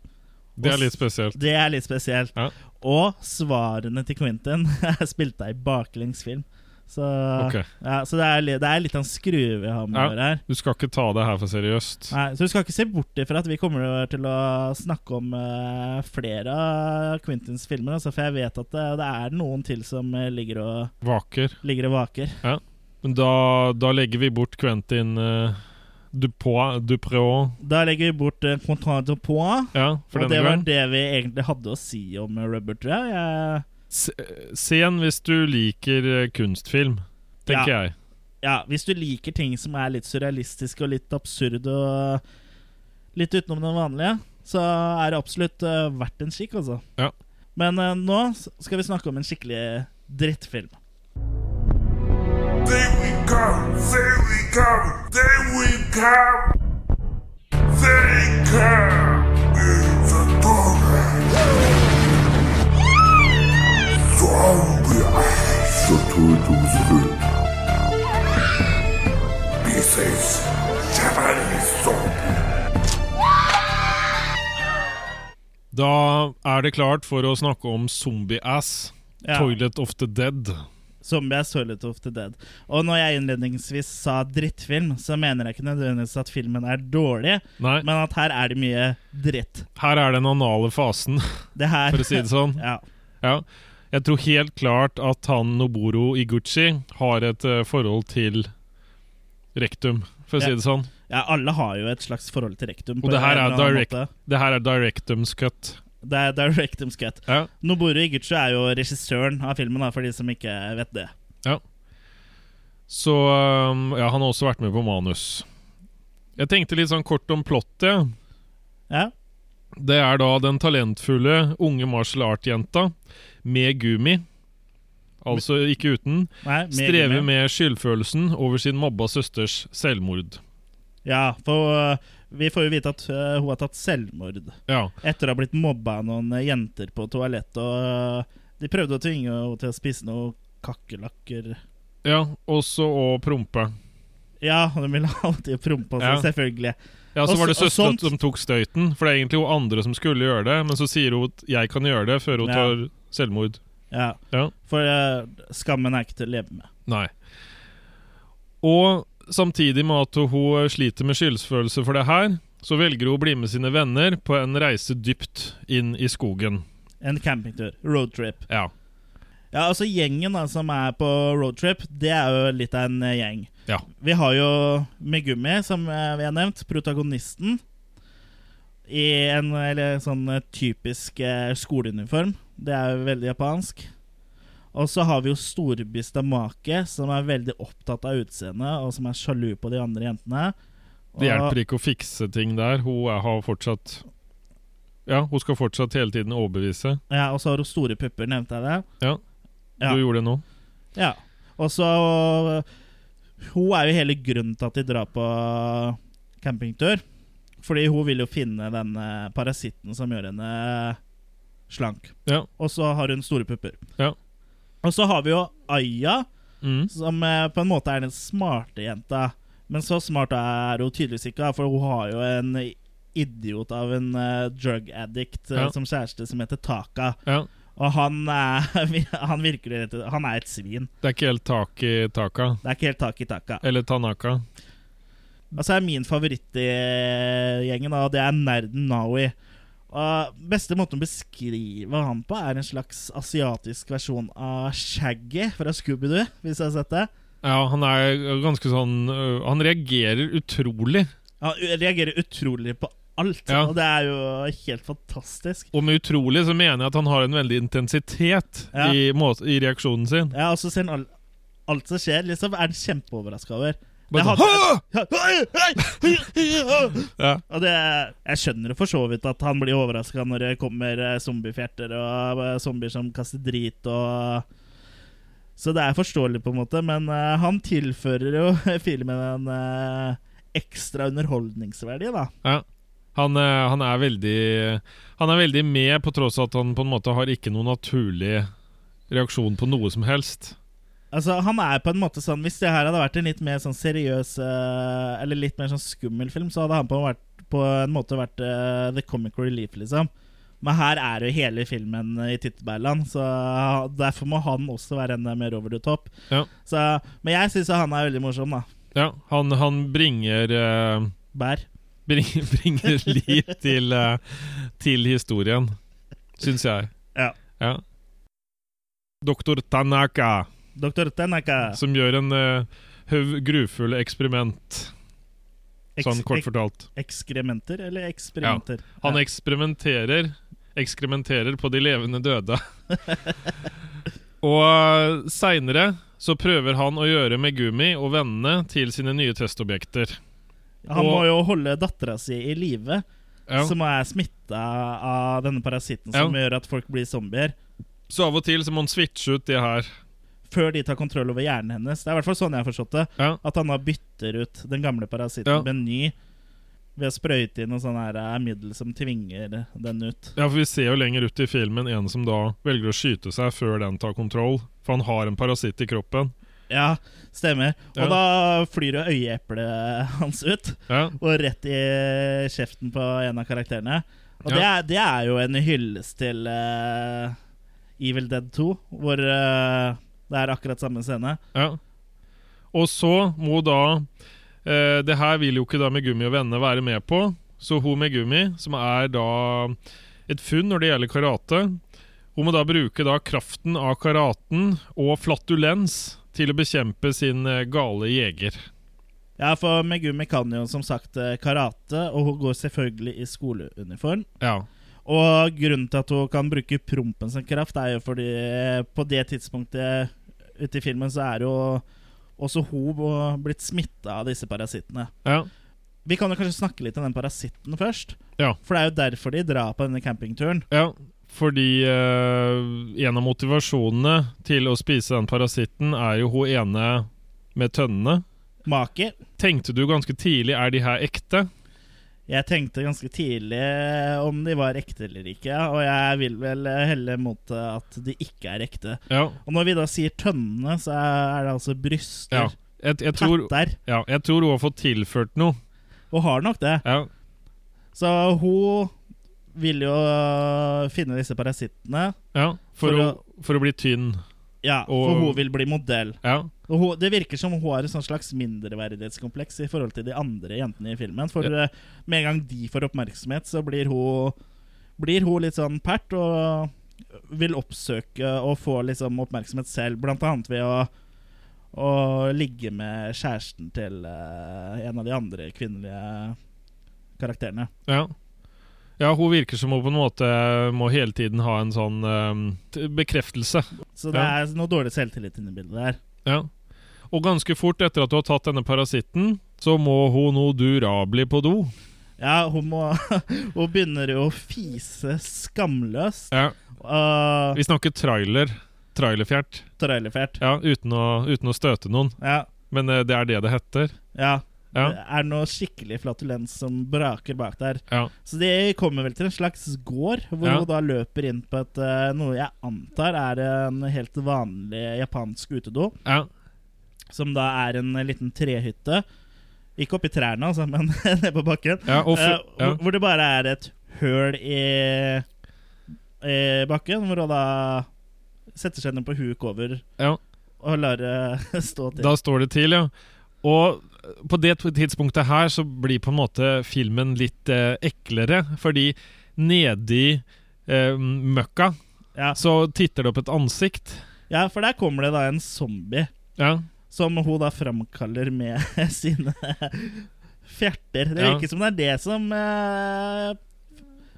Speaker 2: Det er litt spesielt.
Speaker 1: Det er litt spesielt.
Speaker 2: Ja.
Speaker 1: Og svarene til Quentin er spilt av i baklengsfilm. Så,
Speaker 2: Ok,
Speaker 1: ja, så det, er, li- det er litt av en skrue vi har med
Speaker 2: Ja.
Speaker 1: å gjøre her.
Speaker 2: Du skal ikke ta det her for seriøst.
Speaker 1: Nei, så du skal ikke se bort ifra at vi kommer til å snakke om eh, flere av Quentins filmer. Altså, for jeg vet at det, det er noen til som eh, ligger, og,
Speaker 2: Vaker.
Speaker 1: ligger og vaker.
Speaker 2: Men da, da legger vi bort Quentin uh, Dupois Dupreau.
Speaker 1: Da legger vi bort uh, Contant de Poix.
Speaker 2: Ja, for
Speaker 1: Og det
Speaker 2: denne
Speaker 1: var
Speaker 2: gang.
Speaker 1: det vi egentlig hadde å si om eh, Rubber, tror jeg. jeg
Speaker 2: Se, se den hvis du liker eh, kunstfilm, tenker
Speaker 1: Ja.
Speaker 2: jeg.
Speaker 1: ja, hvis du liker ting som er litt surrealistiske og litt absurde og eh, litt utenom det vanlige, så er det absolutt eh, verdt en kikk, altså.
Speaker 2: Ja.
Speaker 1: Men eh, nå s- skal vi snakke om en skikkelig drittfilm.
Speaker 4: There we go, there we go, there we go. They come in the doorway. Zombie eyes. The turtles look. This is Japanese zombie.
Speaker 2: Da er det klart for å snakke om Zombie-ass.
Speaker 1: Ja.
Speaker 2: Toilet of the Dead.
Speaker 1: 'Zombies Solid of the Dead'. Og når jeg innledningsvis sa drittfilm, så mener jeg ikke nødvendigvis at filmen er dårlig,
Speaker 2: Nei,
Speaker 1: men at her er det mye dritt.
Speaker 2: her er den anale fasen,
Speaker 1: Det her
Speaker 2: for å si det sånn.
Speaker 1: Ja.
Speaker 2: Ja. Jeg tror helt klart at han Noboro Iguchi har et eh, forhold til rektum, for å
Speaker 1: Ja.
Speaker 2: si det sånn.
Speaker 1: ja, alle har jo et slags forhold til rektum. på
Speaker 2: Og det her
Speaker 1: en
Speaker 2: er,
Speaker 1: eller annen
Speaker 2: direct,
Speaker 1: måte.
Speaker 2: det her er directums cut.
Speaker 1: Det er directum's cut.
Speaker 2: Ja.
Speaker 1: Noboru Iguchi er jo regissøren av filmen, da, for de som ikke vet det.
Speaker 2: Så um, ja, han har også vært med på manus. Jeg tenkte litt sånn kort om plottet.
Speaker 1: Ja,
Speaker 2: Ja. Det er da den talentfulle unge martial art-jenta med gumi, altså ikke uten,
Speaker 1: nei, mer-
Speaker 2: strever med skyldfølelsen over sin mobba søsters selvmord.
Speaker 1: Ja, for uh, vi får jo vite at uh, hun har tatt selvmord
Speaker 2: Ja,
Speaker 1: etter å ha blitt mobba av noen uh, jenter på toalettet. Og uh, de prøvde å tvinge henne til å spise noen kakerlakker.
Speaker 2: ja også å prompe.
Speaker 1: Ja, de ville alltid prompe seg,
Speaker 2: Ja.
Speaker 1: selvfølgelig.
Speaker 2: Ja, Så
Speaker 1: Og
Speaker 2: var det
Speaker 1: så- og
Speaker 2: søstera
Speaker 1: sånt-
Speaker 2: som tok støyten, for det er egentlig hun andre som skulle gjøre det, men så sier hun at 'jeg kan gjøre det', før hun
Speaker 1: Ja.
Speaker 2: tar selvmord.
Speaker 1: Ja,
Speaker 2: Ja.
Speaker 1: For uh, skammen er ikke til å leve med.
Speaker 2: Nei. Og samtidig med at hun sliter med skyldsfølelse for det her, så velger hun å bli med sine venner på en reise dypt inn i skogen.
Speaker 1: En campingtur. Roadtrip.
Speaker 2: Ja.
Speaker 1: Ja, altså Gjengen da, som er på roadtrip, det er jo litt av en eh, gjeng.
Speaker 2: Ja.
Speaker 1: Vi har jo Megumi, som eh, vi har nevnt, protagonisten. I en eller, sånn eh, typisk eh, skoleuniform. Det er jo veldig japansk. Og så har vi jo storebista Make, som er veldig opptatt av utseendet, og som er sjalu på de andre jentene. Ah.
Speaker 2: Det hjelper ikke å fikse ting der. Hun er, har fortsatt Ja, hun skal fortsatt hele tiden overbevise.
Speaker 1: Ja, og så har hun store pupper, nevnte jeg det.
Speaker 2: Ja.
Speaker 1: Ja.
Speaker 2: Du gjorde det nå.
Speaker 1: Ja. Og så Hun er jo hele grunnen til at de drar på campingtur. Fordi hun vil jo finne denne parasitten som gjør henne eh, slank.
Speaker 2: Ja.
Speaker 1: Og så har hun store pupper.
Speaker 2: Ja.
Speaker 1: Og så har vi jo Aya,
Speaker 2: Mm.
Speaker 1: som eh, på en måte er den smarte jenta. Men så smart er hun tydeligvis ikke, da, for hun har jo en idiot av en eh, drug addict eh,
Speaker 2: Ja.
Speaker 1: som kjæreste som heter Taka.
Speaker 2: ja.
Speaker 1: Og han, er, han virker jo rett Han er et svin.
Speaker 2: Det er ikke helt tak i taka.
Speaker 1: Det er ikke helt tak i taka.
Speaker 2: Eller Tanaka.
Speaker 1: Altså er min favoritt i eh, gjengen, da, og det er nerden Nawi. Og beste måten å beskrive han på er en slags asiatisk versjon av Shaggy fra Scooby-Doo, hvis jeg har sett det.
Speaker 2: Ja, han er ganske sånn øh, Han reagerer utrolig,
Speaker 1: Han u- reagerer utrolig på alt,
Speaker 2: Ja.
Speaker 1: og det er jo helt fantastisk.
Speaker 2: og med utrolig så mener jeg at han har en veldig intensitet
Speaker 1: Ja.
Speaker 2: i, må- i reaksjonen sin.
Speaker 1: Ja, og så ser han all, alt som skjer, liksom, er han kjempeoverraska over. Jeg
Speaker 2: Bare sånn,
Speaker 1: hadde-
Speaker 2: Ja.
Speaker 1: Og det, jeg skjønner jo for så vidt at han blir overraska når det kommer eh, zombiefjerter og eh, zombier som kaster drit og Så det er forståelig, på en måte, men eh, han tilfører jo filmen en eh, ekstra underholdningsverdi, da.
Speaker 2: Ja. Han, eh, han er veldig Han er veldig med, på tross av at han på en måte har ikke noen naturlig reaksjon på noe som helst.
Speaker 1: Altså, han er på en måte sånn Hvis det her hadde vært en litt mer sånn seriøs eh, Eller litt mer sånn skummel film, så hadde han på en, vært, på en måte vært eh, the comic relief, liksom. Men her er jo hele filmen i Tittebærland, så derfor må han også være enda mer over the top.
Speaker 2: Ja.
Speaker 1: Så, men jeg syns han er veldig morsom, da.
Speaker 2: Ja, han, han bringer, eh,
Speaker 1: Bær.
Speaker 2: bring, bringer liv til, eh, til historien, syns jeg.
Speaker 1: Ja.
Speaker 2: ja. Doktor Tanaka,
Speaker 1: Doktor Tenaka.
Speaker 2: som gjør en eh, haug grufulle eksperiment, sånn kort fortalt.
Speaker 1: ekskrementer, eller eksperimenter?
Speaker 2: Han
Speaker 1: Ja.
Speaker 2: eksperimenterer Ekskrementerer på de levende døde. og seinere så prøver han å gjøre Megumi og vennene til sine nye testobjekter.
Speaker 1: han må
Speaker 2: og-
Speaker 1: jo holde dattera si i live.
Speaker 2: Ja.
Speaker 1: som er smitta av denne parasitten som gjør at folk blir zombier,
Speaker 2: Så av og til så må han switche ut de her.
Speaker 1: før de tar kontroll over hjernen hennes. Det er i hvert fall sånn jeg har forstått det.
Speaker 2: Ja.
Speaker 1: At han da bytter ut den gamle parasitten
Speaker 2: Ja.
Speaker 1: med en ny ved å sprøyte inn noe sånn her eh, middel som tvinger den ut.
Speaker 2: Ja, for Vi ser jo lenger ut i filmen en som da velger å skyte seg før den tar kontroll. For han har en parasitt i kroppen.
Speaker 1: Ja, stemmer. Og
Speaker 2: Ja.
Speaker 1: da flyr jo øyeeplet hans ut,
Speaker 2: Ja,
Speaker 1: og rett i kjeften på en av karakterene. Og det,
Speaker 2: Ja.
Speaker 1: er, det er jo en hyllest til eh, Evil Dead 2, hvor eh, Det er akkurat samme scene.
Speaker 2: Ja. Og så må da eh, Det her vil jo ikke da Megumi og vennene være med på. Så hun Megumi, som er da et funn når det gjelder karate Hun må da bruke da kraften av karaten og flatulens til å bekjempe sin eh, gale jeger.
Speaker 1: Ja, for Megumi kan jo som sagt eh, karate, og hun går selvfølgelig i skoleuniform.
Speaker 2: Ja.
Speaker 1: Og grunnen til at hun kan bruke prompen som kraft, er jo fordi eh, på det tidspunktet ute i filmen så er jo også hun bo- blitt smitta av disse parasittene.
Speaker 2: ja.
Speaker 1: Vi kan jo kanskje snakke litt om den parasitten først.
Speaker 2: Ja.
Speaker 1: For det er jo derfor de drar på denne campingturen.
Speaker 2: Ja, fordi eh, en av motivasjonene til å spise den parasitten er jo hun ene med tønnene.
Speaker 1: Maki.
Speaker 2: Tenkte du ganske tidlig er de her ekte?
Speaker 1: Jeg tenkte ganske tidlig eh, om de var ekte eller ikke, og jeg vil vel eh, helle mot at de ikke er ekte.
Speaker 2: Ja.
Speaker 1: Og når vi da sier tønnene, så er det altså
Speaker 2: ja.
Speaker 1: bryster,
Speaker 2: Jeg, jeg, tror,
Speaker 1: patter,
Speaker 2: ja, jeg tror hun har fått tilført noe.
Speaker 1: og har nok det.
Speaker 2: Ja,
Speaker 1: Så hun vil jo øh, finne disse parasittene.
Speaker 2: ja for,
Speaker 1: For
Speaker 2: å, for å bli tynn.
Speaker 1: Ja,
Speaker 2: Og-
Speaker 1: for hun vil bli modell.
Speaker 2: Ja,
Speaker 1: Og hun, det virker som hun har en sånn slags mindreverdighetskompleks i forhold til de andre jentene i filmen. For eh, med en gang de får oppmerksomhet, så blir hun, blir hun litt sånn pert og vil oppsøke og få liksom oppmerksomhet selv, blant annet ved å, å ligge med kjæresten til eh, en av de andre kvinnelige karakterene.
Speaker 2: ja. Ja, hun virker som hun på en måte må hele tiden ha en sånn eh, t- bekreftelse.
Speaker 1: Så det
Speaker 2: Ja.
Speaker 1: er noe dårlig selvtillit inni bildet der.
Speaker 2: Ja. Og ganske fort etter at du har tatt denne parasitten, så må hun nå durabli på do.
Speaker 1: Ja, hun, må, hun begynner jo å fise skamløst. Ah.
Speaker 2: Ja.
Speaker 1: Og
Speaker 2: Vi snakker trailer. Trailerfjert.
Speaker 1: trailerfælt.
Speaker 2: Ja, uten å, uten å støte noen.
Speaker 1: Ja.
Speaker 2: Men eh, det er det det heter.
Speaker 1: ja.
Speaker 2: Ja,
Speaker 1: Det er noe skikkelig flatulens som braker bak der.
Speaker 2: ja,
Speaker 1: Så de kommer vel til en slags gård, hvor
Speaker 2: Ja.
Speaker 1: hun da løper inn på et, eh, noe jeg antar er en helt vanlig japansk utedo.
Speaker 2: ja.
Speaker 1: Som da er en liten trehytte. Ikke oppi trærne, altså, men nede på bakken.
Speaker 2: ja og
Speaker 1: Eh,
Speaker 2: fu- ja.
Speaker 1: hvor- Hvor det bare er et høl i, i bakken, hvor hun da setter seg ned på huk over
Speaker 2: Ja.
Speaker 1: og lar det stå til.
Speaker 2: Da står det til, ja. Og på det tidspunktet her så blir på en måte filmen litt eh, eklere, fordi nedi eh, møkka
Speaker 1: ja.
Speaker 2: så titter det opp et ansikt.
Speaker 1: ja, for der kommer det da en zombie,
Speaker 2: Ja,
Speaker 1: som hun da framkaller med sine fjerter. Det
Speaker 2: Ja.
Speaker 1: virker som det er det som eh,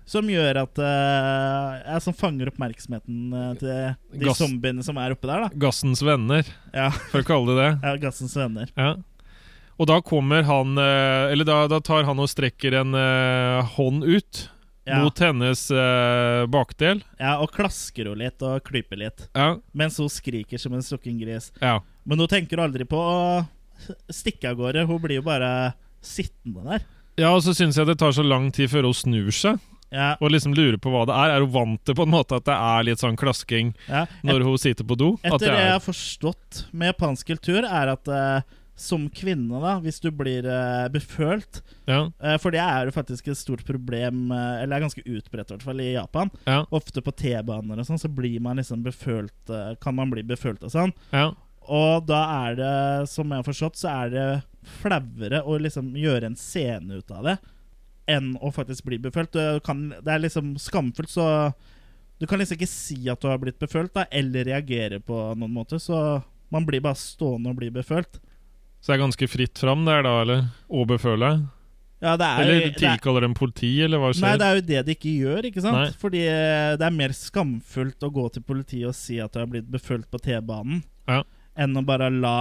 Speaker 1: som gjør at eh, ja, Som fanger oppmerksomheten eh, til de
Speaker 2: Gass.
Speaker 1: zombiene som er oppe der, da.
Speaker 2: Gassens venner,
Speaker 1: Ja,
Speaker 2: for å kalle det det.
Speaker 1: ja Gassens venner.
Speaker 2: Ja. Og da kommer han eh, Eller da, da tar han og strekker en eh, hånd ut
Speaker 1: Ja.
Speaker 2: mot hennes eh, bakdel.
Speaker 1: Ja, og klasker hun litt og klyper litt.
Speaker 2: Ja,
Speaker 1: Mens hun skriker som en strukken gris.
Speaker 2: ja,
Speaker 1: Men hun tenker aldri på å stikke av gårde. Hun blir jo bare sittende der.
Speaker 2: ja og så syns jeg det tar så lang tid før hun snur seg
Speaker 1: Ja,
Speaker 2: og liksom lurer på hva det er. Er hun vant til på en måte at det er litt sånn klasking
Speaker 1: ja. Et,
Speaker 2: når hun sitter på do? At
Speaker 1: etter
Speaker 2: det
Speaker 1: det jeg
Speaker 2: er,
Speaker 1: har forstått med japansk kultur, er at eh, som kvinne, da, hvis du blir eh, befølt
Speaker 2: ja,
Speaker 1: eh, For det er jo faktisk et stort problem, eh, eller er ganske utbredt i hvert fall i Japan.
Speaker 2: ja,
Speaker 1: Ofte på T-baner og sånn, så blir man liksom befølt eh, Kan man bli befølt og sånn.
Speaker 2: ja,
Speaker 1: Og da er det, som jeg har forstått, så er det flauere å liksom gjøre en scene ut av det enn å faktisk bli befølt. Du kan, det er liksom skamfullt, så du kan liksom ikke si at du har blitt befølt, da, eller reagere på noen måte. Så man blir bare stående og blir befølt.
Speaker 2: Så det er ganske fritt fram der, da? Eller overføle?
Speaker 1: Ja, det er,
Speaker 2: Eller
Speaker 1: jo- det er,
Speaker 2: tilkaller dem politi, eller hva
Speaker 1: nei,
Speaker 2: skjer?
Speaker 1: det er jo det de ikke gjør, ikke sant?
Speaker 2: Nei.
Speaker 1: Fordi eh, det er mer skamfullt å gå til politiet og si at du har blitt befølt på T-banen,
Speaker 2: Ja.
Speaker 1: enn å bare la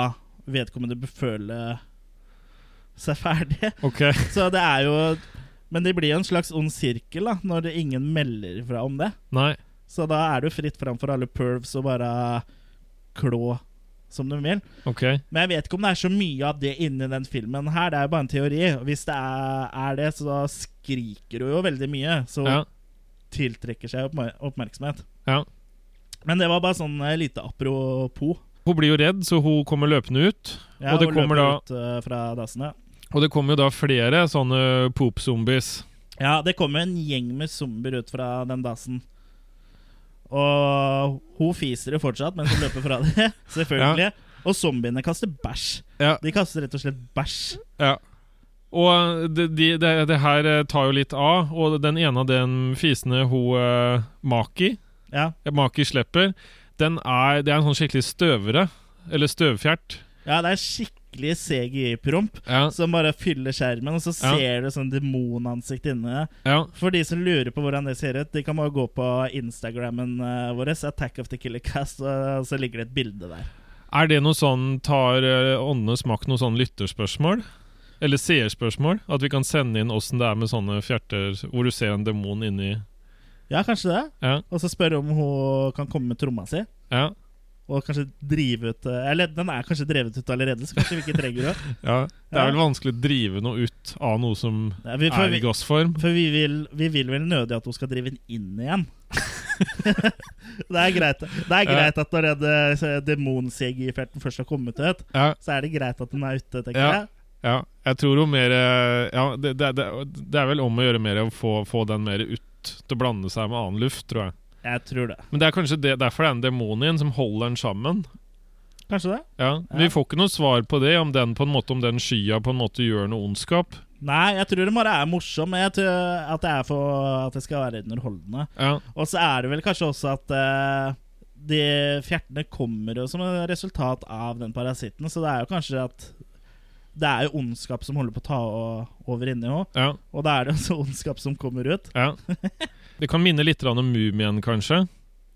Speaker 1: vedkommende beføle seg ferdig.
Speaker 2: Ok,
Speaker 1: Så det er jo Men det blir jo en slags ond sirkel da når det ingen melder fra om det.
Speaker 2: nei.
Speaker 1: Så da er det jo fritt fram for alle pervs å bare klå som de vil.
Speaker 2: Ok.
Speaker 1: Men jeg vet ikke om det er så mye av det inni den filmen her. Det er jo bare en teori. Og Hvis det er, er det, så skriker hun jo veldig mye. Så
Speaker 2: Ja,
Speaker 1: tiltrekker seg oppmer oppmerksomhet.
Speaker 2: ja.
Speaker 1: Men det var bare sånn eh, lite apropos.
Speaker 2: Hun blir jo redd, så hun kommer løpende ut.
Speaker 1: Ja,
Speaker 2: Og det
Speaker 1: hun løper
Speaker 2: kommer da-
Speaker 1: ut, eh, fra dassene.
Speaker 2: Og det kommer jo da flere sånne poop-zombies.
Speaker 1: Ja, det kom jo en gjeng med zombier ut fra den dasen. Og Og hun fiser det fortsatt mens hun løper fra det. Selvfølgelig. Og zombiene kaster bæsj.
Speaker 2: Ja.
Speaker 1: De kaster rett og slett bæsj.
Speaker 2: Ja. Og det, de, det, det her eh, tar jo litt av, og den ene av den fisene hun eh, Maki
Speaker 1: Ja.
Speaker 2: eh, Maki slipper, den er, det er en sånn skikkelig støvere. Eller støvfjert.
Speaker 1: ja, det er skikkelig CGI-promp
Speaker 2: Ja,
Speaker 1: som bare fyller skjermen, og så
Speaker 2: Ja.
Speaker 1: ser du sånn demonansikt inni.
Speaker 2: ja,
Speaker 1: For de som lurer på hvordan det ser ut, de kan bare gå på Instagrammen eh, vår, Attack of the Killer Cast, og eh, så ligger det et bilde der.
Speaker 2: Er det noe sånn Tar eh, åndenes makt noe sånn lytterspørsmål? Eller seerspørsmål? At vi kan sende inn åssen det er med sånne fjerter hvor du ser en demon inni
Speaker 1: Ja, kanskje det.
Speaker 2: Ja.
Speaker 1: Og så spørre om hun kan komme med tromma si.
Speaker 2: Ja.
Speaker 1: Og kanskje drive ut eh, Eller den er kanskje drevet ut allerede, så kanskje vi ikke trenger det.
Speaker 2: ja. Det er vel vanskelig å drive noe ut av noe som
Speaker 1: Ja, vi, for
Speaker 2: er
Speaker 1: vi,
Speaker 2: i gassform.
Speaker 1: for vi, vil, vi vil vel nødig at hun skal drive den inn igjen. det er greit Det er greit at når den, eh, demon-CGI-felten først har kommet ut,
Speaker 2: Ja.
Speaker 1: så er det greit at den er ute, tenker
Speaker 2: Ja.
Speaker 1: jeg.
Speaker 2: Ja, jeg tror jo mer eh, Ja, det, det, det, det er vel om å gjøre mer å få, få den mer ut til å blande seg med annen luft, tror jeg.
Speaker 1: Jeg tror det.
Speaker 2: Men det er kanskje det, derfor det er en demon igjen som holder den sammen.
Speaker 1: Kanskje det?
Speaker 2: Ja, men
Speaker 1: Ja.
Speaker 2: Vi får ikke noe svar på det, om den på en måte Om den skya på en måte gjør noe ondskap.
Speaker 1: Nei, jeg tror det bare er morsom. Men jeg tror at det er for at det skal være underholdende.
Speaker 2: Ja,
Speaker 1: Og så er det vel kanskje også at eh, de fjertene kommer jo som et resultat av den parasitten, så det er jo kanskje at det er jo ondskap som holder på å ta o- over inni henne,
Speaker 2: ja,
Speaker 1: og da er det også ondskap som kommer ut.
Speaker 2: ja. Det kan minne litt grann om Mumien, kanskje.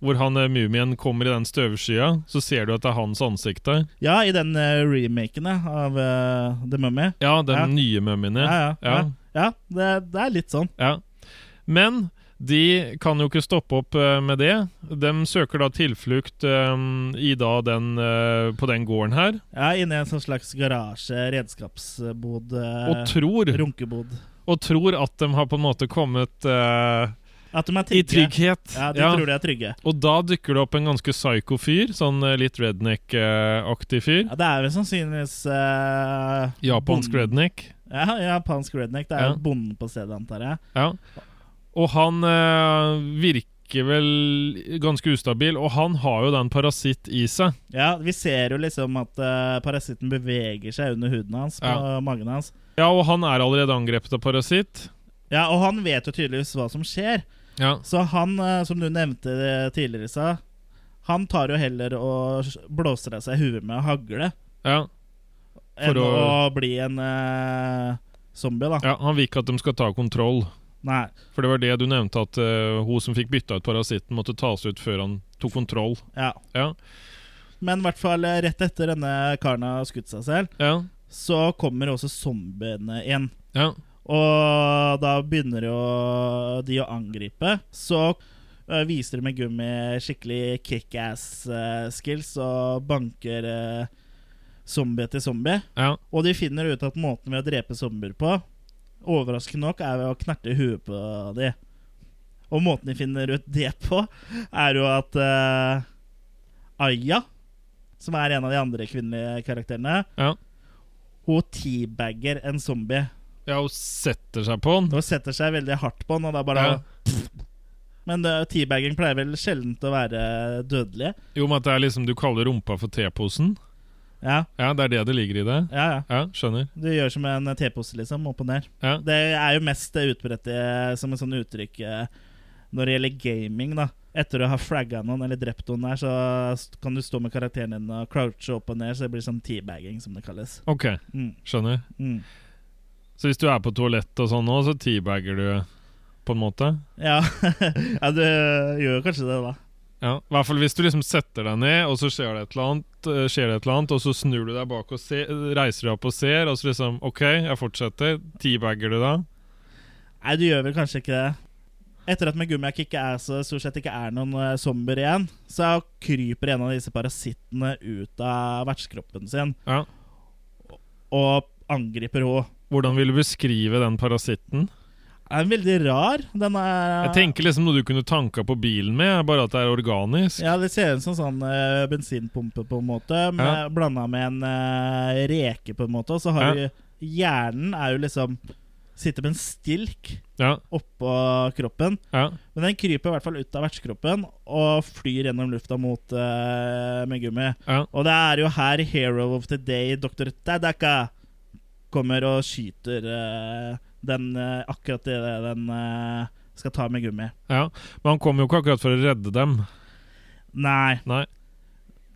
Speaker 2: Hvor han eh, Mumien kommer i den støvskya, så ser du at det er hans ansikt der.
Speaker 1: Ja, i den eh, remaken ja, av eh, The Mummy.
Speaker 2: Ja, den
Speaker 1: Ja.
Speaker 2: nye mumien.
Speaker 1: Ja,
Speaker 2: Ja.
Speaker 1: ja. ja. ja det, det er litt sånn.
Speaker 2: Ja. Men de kan jo ikke stoppe opp eh, med det. De søker da tilflukt eh, i da den, eh, på den gården her,
Speaker 1: Ja, Inni en sånn slags garasje, redskapsbod, eh,
Speaker 2: og tror,
Speaker 1: runkebod.
Speaker 2: og tror at de har på en måte kommet eh,
Speaker 1: At de er
Speaker 2: i
Speaker 1: trygge.
Speaker 2: trygghet.
Speaker 1: Ja, de
Speaker 2: Ja.
Speaker 1: tror de er trygge.
Speaker 2: Og da dukker det opp en ganske psycho fyr, sånn eh, litt redneck-aktig fyr.
Speaker 1: Ja, det er vel sannsynligvis eh,
Speaker 2: Japansk
Speaker 1: bonden-
Speaker 2: redneck.
Speaker 1: Ja, japansk redneck. Det er jo
Speaker 2: Ja.
Speaker 1: bonden på stedet, antar jeg.
Speaker 2: Ja. Og han eh, virker vel ganske ustabil, og han har jo den parasitt i seg.
Speaker 1: Ja, Vi ser jo liksom at eh, parasitten beveger seg under huden hans, på
Speaker 2: Ja.
Speaker 1: magen hans.
Speaker 2: Ja, og han er allerede angrepet av parasitt.
Speaker 1: Ja, Og han vet jo tydeligvis hva som skjer,
Speaker 2: Ja.
Speaker 1: så han, eh, som du nevnte eh, tidligere, sa han tar jo heller og s- blåser av seg huet med hagle
Speaker 2: ja.
Speaker 1: enn
Speaker 2: For
Speaker 1: å...
Speaker 2: å-
Speaker 1: bli en eh, zombie, da.
Speaker 2: Ja, Han vil ikke at de skal ta kontroll.
Speaker 1: Nei.
Speaker 2: For det var det du nevnte, at eh, hun som fikk bytta ut parasitten, måtte tas ut før han tok kontroll.
Speaker 1: Ja.
Speaker 2: Ja.
Speaker 1: Men i hvert fall eh, rett etter denne karen har skutt seg selv,
Speaker 2: Ja.
Speaker 1: så kommer også zombiene igjen.
Speaker 2: Ja.
Speaker 1: Og da begynner jo de å angripe. Så øh, viser de med gummi skikkelig kickass-skills og banker øh, zombie etter zombie.
Speaker 2: Ja.
Speaker 1: Og de finner ut at måten ved å drepe zombier på, overraskende nok, er ved å knerte huet på de. Og måten de finner ut det på, er jo at øh, Aya, som er en av de andre kvinnelige karakterene,
Speaker 2: Ja.
Speaker 1: hun teabagger en zombie.
Speaker 2: ja, hun setter seg på han.
Speaker 1: Og setter seg veldig hardt på den, og da bare
Speaker 2: Ja.
Speaker 1: Men eh, teabagging pleier vel sjelden å være dødelig.
Speaker 2: Jo, men at det er liksom du kaller rumpa for teposen.
Speaker 1: Ja,
Speaker 2: Ja, det er det det ligger i det.
Speaker 1: ja, ja.
Speaker 2: Ja, skjønner.
Speaker 1: Du gjør som en tepose, liksom. Opp og ned.
Speaker 2: Ja.
Speaker 1: Det er jo mest eh, utbredt eh, som en sånn uttrykk eh, når det gjelder gaming, da. Etter å ha fragga noen eller drept noen der, så s- kan du stå med karakteren din og crouche opp og ned, så det blir sånn teabagging, som det kalles.
Speaker 2: Ok,
Speaker 1: Mm,
Speaker 2: skjønner.
Speaker 1: mm.
Speaker 2: Så hvis du er på toalettet og sånn nå, så teabagger du på en måte?
Speaker 1: Ja. ja, du gjør jo kanskje det, da.
Speaker 2: Ja, i hvert fall hvis du liksom setter deg ned, og så skjer det et eller annet, eh, skjer det et eller annet og så snur du deg bak og se, reiser deg opp og ser, og så liksom OK, jeg fortsetter. Teabagger du da?
Speaker 1: Nei, du gjør vel kanskje ikke det. Etter at Megumi Kick er så stort sett ikke er noen eh, zombier igjen, så kryper en av disse parasittene ut av vertskroppen sin
Speaker 2: Ja.
Speaker 1: og angriper henne.
Speaker 2: Hvordan vil du beskrive den parasitten?
Speaker 1: Er den veldig rar? Den er
Speaker 2: Jeg tenker liksom noe du kunne tanka på bilen med, bare at det er organisk.
Speaker 1: Ja, det ser ut som sånn eh, bensinpumpe, på en måte, med,
Speaker 2: Ja.
Speaker 1: blanda med en eh, reke, på en måte. Og så har
Speaker 2: Ja.
Speaker 1: du Hjernen er jo liksom sitter med en stilk
Speaker 2: Ja,
Speaker 1: oppå kroppen.
Speaker 2: ja.
Speaker 1: Men den kryper i hvert fall ut av vertskroppen og flyr gjennom lufta mot eh, med gummi.
Speaker 2: ja.
Speaker 1: Og det er jo her Hero of the Day, Dr. Tadaka, kommer og skyter eh, den eh, akkurat det den eh, skal ta med gummi.
Speaker 2: ja. Men han kom jo ikke akkurat for å redde dem.
Speaker 1: Nei,
Speaker 2: Nei.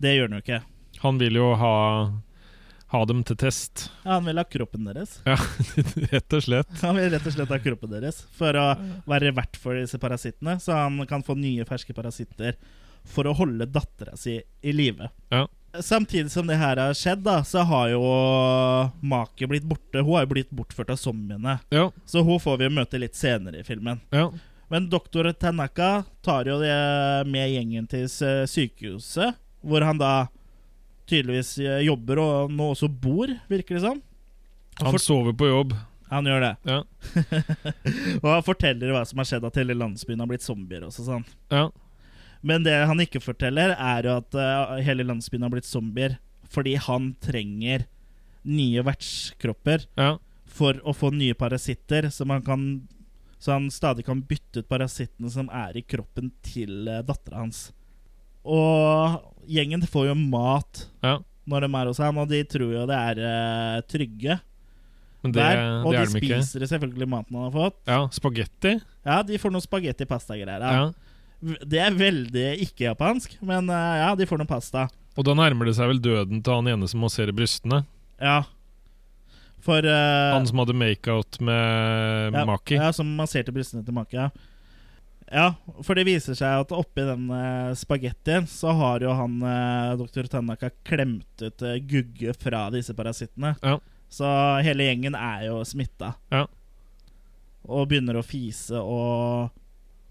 Speaker 1: det gjør den jo ikke.
Speaker 2: Han vil jo ha, ha dem til test.
Speaker 1: Ja, han vil ha kroppen deres.
Speaker 2: Ja, rett og slett.
Speaker 1: Han vil rett og slett ha kroppen deres for å være vert for disse parasittene, så han kan få nye, ferske parasitter for å holde dattera si i live.
Speaker 2: Ja.
Speaker 1: Samtidig som det her har skjedd, da, så har jo Make blitt borte. Hun har jo blitt bortført av zombiene,
Speaker 2: Ja,
Speaker 1: så hun får vi jo møte litt senere i filmen.
Speaker 2: ja.
Speaker 1: Men doktor Tanaka tar jo det med gjengen til s- sykehuset, hvor han da tydeligvis eh, jobber og nå også bor, virker det som. Og
Speaker 2: Han
Speaker 1: fort-
Speaker 2: sover på jobb.
Speaker 1: han gjør det.
Speaker 2: Ja.
Speaker 1: og han forteller hva som har skjedd, at hele landsbyen har blitt zombier. også sånn.
Speaker 2: Ja,
Speaker 1: Men det han ikke forteller, er jo at eh, hele landsbyen har blitt zombier fordi han trenger nye vertskropper
Speaker 2: ja.
Speaker 1: for å få nye parasitter, så man kan Så han stadig kan bytte ut parasittene som er i kroppen til uh, dattera hans. Og gjengen får jo mat
Speaker 2: ja.
Speaker 1: når de er hos ham, og de tror jo det er eh, trygge
Speaker 2: Men det,
Speaker 1: der. Og
Speaker 2: det
Speaker 1: de
Speaker 2: er de ikke.
Speaker 1: spiser selvfølgelig maten han har fått.
Speaker 2: Ja, spagetti.
Speaker 1: Ja, de får noe spagetti pasta-greier.
Speaker 2: Ja.
Speaker 1: Ja. Det er veldig ikke-japansk, men eh, ja, de får noe pasta.
Speaker 2: Og da nærmer det seg vel døden til han ene som masserer brystene.
Speaker 1: Ja. For eh,
Speaker 2: Han som hadde makeout med
Speaker 1: ja,
Speaker 2: Maki.
Speaker 1: Ja, som masserte brystene til Maki. Ja. ja, for det viser seg at oppi den eh, spagettien så har jo han eh, doktor Tanaka klemt ut eh, gugge fra disse parasittene.
Speaker 2: Ja.
Speaker 1: Så hele gjengen er jo smitta.
Speaker 2: Ja.
Speaker 1: Og begynner å fise og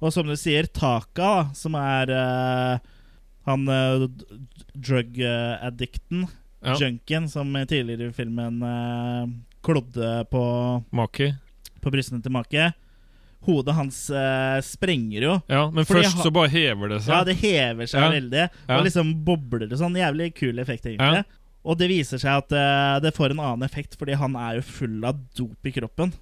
Speaker 1: Og som du sier, Taka, da, som er eh, han eh, d- drug eh, addicten,
Speaker 2: Ja.
Speaker 1: junkien, som tidligere i filmen eh, klodde på,
Speaker 2: Maki.
Speaker 1: på brystene til Make. Hodet hans eh, sprenger jo.
Speaker 2: Ja, men
Speaker 1: Fordi
Speaker 2: først
Speaker 1: han-
Speaker 2: så bare hever det seg.
Speaker 1: Ja, det hever seg
Speaker 2: Ja.
Speaker 1: veldig. Og
Speaker 2: Ja.
Speaker 1: liksom bobler og sånn. Jævlig kul effekt, egentlig. Og det viser seg at eh, det får en annen effekt, fordi han er jo full av dop i kroppen.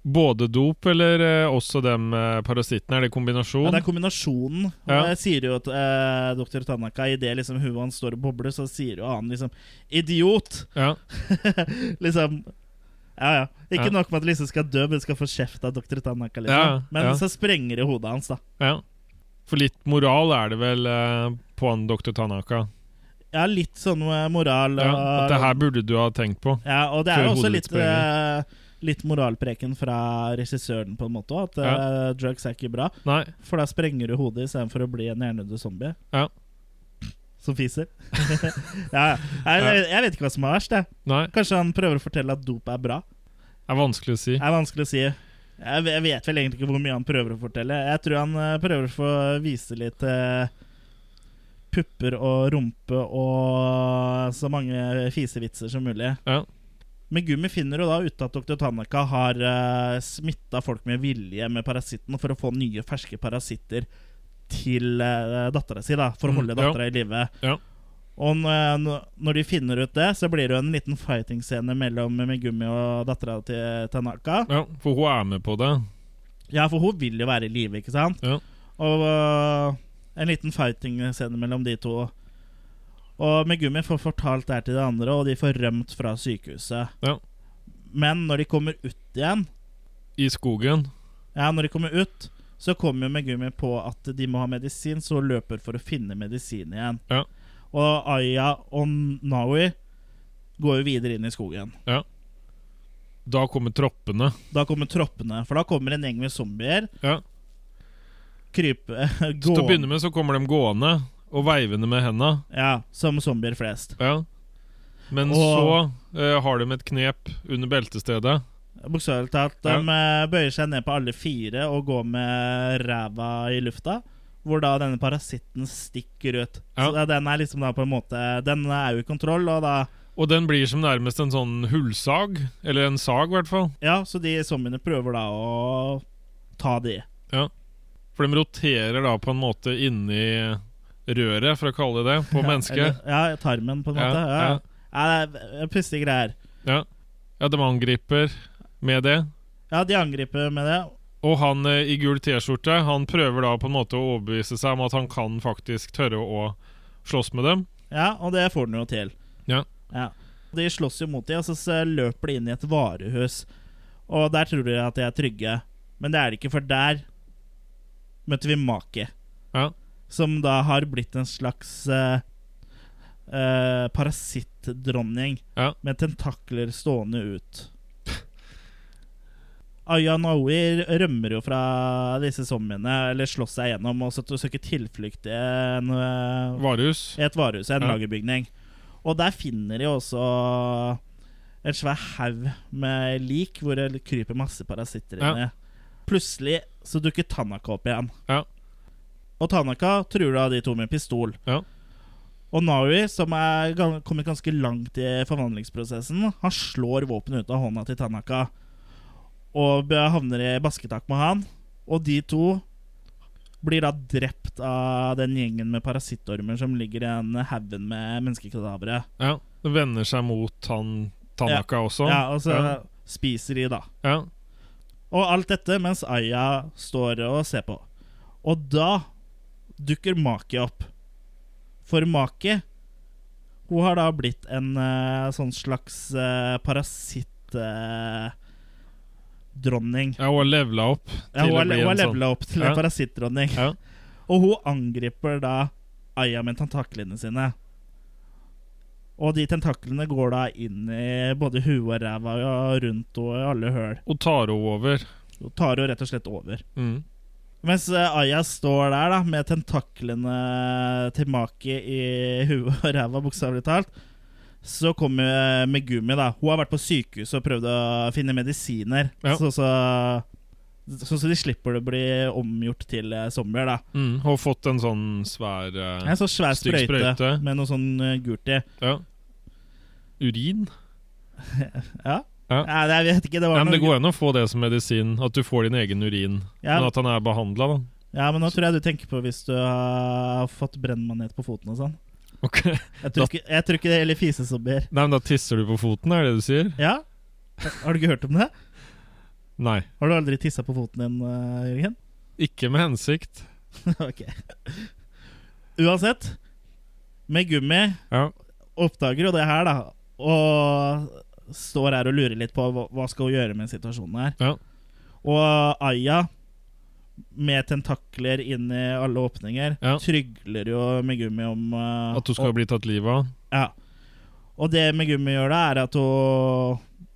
Speaker 2: Både dop eller eh, også de eh, parasittene? Er det kombinasjon?
Speaker 1: Ja, det er kombinasjonen. Og
Speaker 2: Ja.
Speaker 1: det sier jo at eh, doktor Tanaka, idet liksom huet hans står og bobler, så sier jo han liksom 'idiot'.
Speaker 2: Ja,
Speaker 1: liksom Ja, ja. Ikke
Speaker 2: Ja.
Speaker 1: nok med at liksom skal dø, men skal få kjeft av doktor Tanaka. Liksom.
Speaker 2: Ja,
Speaker 1: Men
Speaker 2: ja.
Speaker 1: så sprenger det hodet hans, da.
Speaker 2: ja. For litt moral er det vel eh, på han doktor Tanaka.
Speaker 1: Ja, litt sånn eh, moral.
Speaker 2: Ja,
Speaker 1: og-
Speaker 2: at det her burde du ha tenkt på.
Speaker 1: Ja, og det er
Speaker 2: Før
Speaker 1: jo også
Speaker 2: hodet
Speaker 1: litt,
Speaker 2: ditt sprenger.
Speaker 1: eh, litt moralpreken fra regissøren, på en måte. også, At eh, drugs er ikke bra,
Speaker 2: Nei.
Speaker 1: for da sprenger du hodet istedenfor å bli en hjernedød zombie.
Speaker 2: Ja.
Speaker 1: Som fiser. ja, ja. Nei,
Speaker 2: Ja.
Speaker 1: jeg, jeg vet ikke hva som er verst. Jeg.
Speaker 2: Nei,
Speaker 1: Kanskje han prøver å fortelle at dop er bra.
Speaker 2: det er vanskelig å si.
Speaker 1: Det er vanskelig å si. Jeg, ve- jeg vet vel egentlig ikke hvor mye han prøver å fortelle. Jeg tror han eh, prøver å få vise litt eh, pupper og rumpe og så mange fisevitser som mulig.
Speaker 2: Ja.
Speaker 1: Men Gummi finner jo da ut at dr. Tanaka har uh, smitta folk med vilje med parasitten for å få nye, ferske parasitter til uh, dattera si, da, for å
Speaker 2: Mm,
Speaker 1: holde dattera i live.
Speaker 2: Ja.
Speaker 1: Og n- eh, n- når de finner ut det, så blir det jo en liten fighting-scene mellom Megumi og dattera til Tanaka.
Speaker 2: Ja, For hun er med på det.
Speaker 1: Ja, for hun vil jo være i live, ikke sant?
Speaker 2: Ja.
Speaker 1: Og øh, en liten fighting-scene mellom de to. Og Megumi får fortalt det her til de andre, og de får rømt fra sykehuset.
Speaker 2: Ja.
Speaker 1: Men når de kommer ut igjen,
Speaker 2: I skogen.
Speaker 1: Ja, når de kommer ut, så kommer jo Megumi på at de må ha medisin, så hun løper for å finne medisin igjen.
Speaker 2: Ja.
Speaker 1: Og Aya og Nawi går jo videre inn i skogen.
Speaker 2: Da kommer troppene.
Speaker 1: Da kommer troppene, for da kommer en gjeng med zombier.
Speaker 2: Ja.
Speaker 1: Krype,
Speaker 2: Så til å begynne
Speaker 1: gå,
Speaker 2: med så kommer de gående og veivende med henda.
Speaker 1: ja, som zombier flest.
Speaker 2: Ja.
Speaker 1: Og-
Speaker 2: Men så eh, har de et knep under beltestedet.
Speaker 1: Bokstavelig talt. De
Speaker 2: Ja.
Speaker 1: eh, bøyer seg ned på alle fire og går med ræva i lufta. Hvor da denne parasitten stikker ut.
Speaker 2: Ja.
Speaker 1: Så da- den er liksom da på en måte Den er jo i kontroll, og da
Speaker 2: Og den blir som nærmest en sånn hullsag. Eller en sag, i hvert fall.
Speaker 1: Ja, så de zombiene prøver da å ta de.
Speaker 2: For de roterer da på en måte inni røret, for å kalle det det, på mennesket.
Speaker 1: Eller, ja, tarmen, på en
Speaker 2: Ja,
Speaker 1: måte. Ja,
Speaker 2: ja.
Speaker 1: ja. det er pussige greier.
Speaker 2: Ja. ja, de angriper med det.
Speaker 1: Ja, de angriper med det.
Speaker 2: Og han eh, i gul T-skjorte Han prøver da på en måte å overbevise seg om at han kan faktisk tørre å slåss med dem.
Speaker 1: Ja, og det får den jo til.
Speaker 2: Ja.
Speaker 1: Ja. De slåss jo mot dem, og så s- eh, løper de inn i et varehus. Og der tror de at de er trygge, men det er de ikke, for der møtte vi Maki.
Speaker 2: Ja.
Speaker 1: Som da har blitt en slags eh, eh, parasittdronning
Speaker 2: Ja.
Speaker 1: med tentakler stående ut. Aya Naoi rømmer jo fra disse zombiene, eller slåss seg gjennom, og så søker tilflukt i en eh,
Speaker 2: Varehus.
Speaker 1: i et varehus, en
Speaker 2: Ja.
Speaker 1: lagerbygning. Og der finner de også en svær haug med lik hvor det kryper masse parasitter
Speaker 2: Ja.
Speaker 1: inni. Plutselig så dukker Tanaka opp igjen.
Speaker 2: Ja.
Speaker 1: Og Tanaka truer da de to med pistol.
Speaker 2: Ja.
Speaker 1: Og Naui, som er gan- kommet ganske langt i forvandlingsprosessen, han slår våpenet ut av hånda til Tanaka og be- havner i basketak med han. Og de to blir da drept av den gjengen med parasittormer som ligger i den haugen med menneskekadavere.
Speaker 2: Ja. Det vender seg mot han Tanaka også.
Speaker 1: Ja, og så
Speaker 2: ja.
Speaker 1: spiser de, da.
Speaker 2: ja.
Speaker 1: Og alt dette mens Aya står og ser på. Og da dukker Maki opp. For Maki Hun har da blitt en eh, sånn slags eh, parasitt... eh, Dronning.
Speaker 2: ja, hun har levela opp.
Speaker 1: Ja,
Speaker 2: til
Speaker 1: hun
Speaker 2: å
Speaker 1: har,
Speaker 2: bli
Speaker 1: hun har
Speaker 2: en sånn-
Speaker 1: levela opp til en
Speaker 2: Ja.
Speaker 1: parasittdronning.
Speaker 2: Ja.
Speaker 1: Og hun angriper da Aya med tentaklene sine. Og de tentaklene går da inn i både huet og ræva og rundt og i alle høl.
Speaker 2: Og tar henne over.
Speaker 1: Og tar henne rett og slett over.
Speaker 2: Mm.
Speaker 1: Mens eh, Aya står der da med tentaklene til Maki i huet og ræva, bokstavelig talt, så kommer eh, Megumi. da Hun har vært på sykehuset og prøvd å finne medisiner,
Speaker 2: Ja.
Speaker 1: så, så, så, så de slipper å bli omgjort til eh, zombier. da
Speaker 2: Mm. Hun har fått en sånn svær eh,
Speaker 1: En sånn svær
Speaker 2: Stygg
Speaker 1: sprøyte,
Speaker 2: sprøyte.
Speaker 1: med noe sånn eh, gult i.
Speaker 2: ja. Urin?
Speaker 1: Ja?
Speaker 2: Ja.
Speaker 1: Nei, det- jeg vet ikke, det var
Speaker 2: Nei, men Det
Speaker 1: noe
Speaker 2: går an å få det som medisin, at du får din egen urin.
Speaker 1: Ja.
Speaker 2: Men at han er behandla, da.
Speaker 1: Ja, men nå tror jeg du tenker på hvis du har fått brennmanet på foten og sånn.
Speaker 2: Ok.
Speaker 1: Jeg tror ikke, jeg tror ikke det gjelder fisesombier.
Speaker 2: Nei, men da tisser du på foten, er det det du sier?
Speaker 1: Ja? Har du ikke hørt om det?
Speaker 2: Nei.
Speaker 1: Har du aldri tissa på foten din, eh, Jørgen?
Speaker 2: Ikke med hensikt.
Speaker 1: ok. Uansett, med gummi
Speaker 2: Ja.
Speaker 1: oppdager jo det her, da. Og står her og lurer litt på hva hva skal hun gjøre med situasjonen her.
Speaker 2: Ja.
Speaker 1: Og Aya, med tentakler inn i alle åpninger,
Speaker 2: Ja.
Speaker 1: trygler jo Megumi om eh,
Speaker 2: At du skal
Speaker 1: og,
Speaker 2: bli tatt livet av.
Speaker 1: Ja. Og det Megumi gjør da, er at hun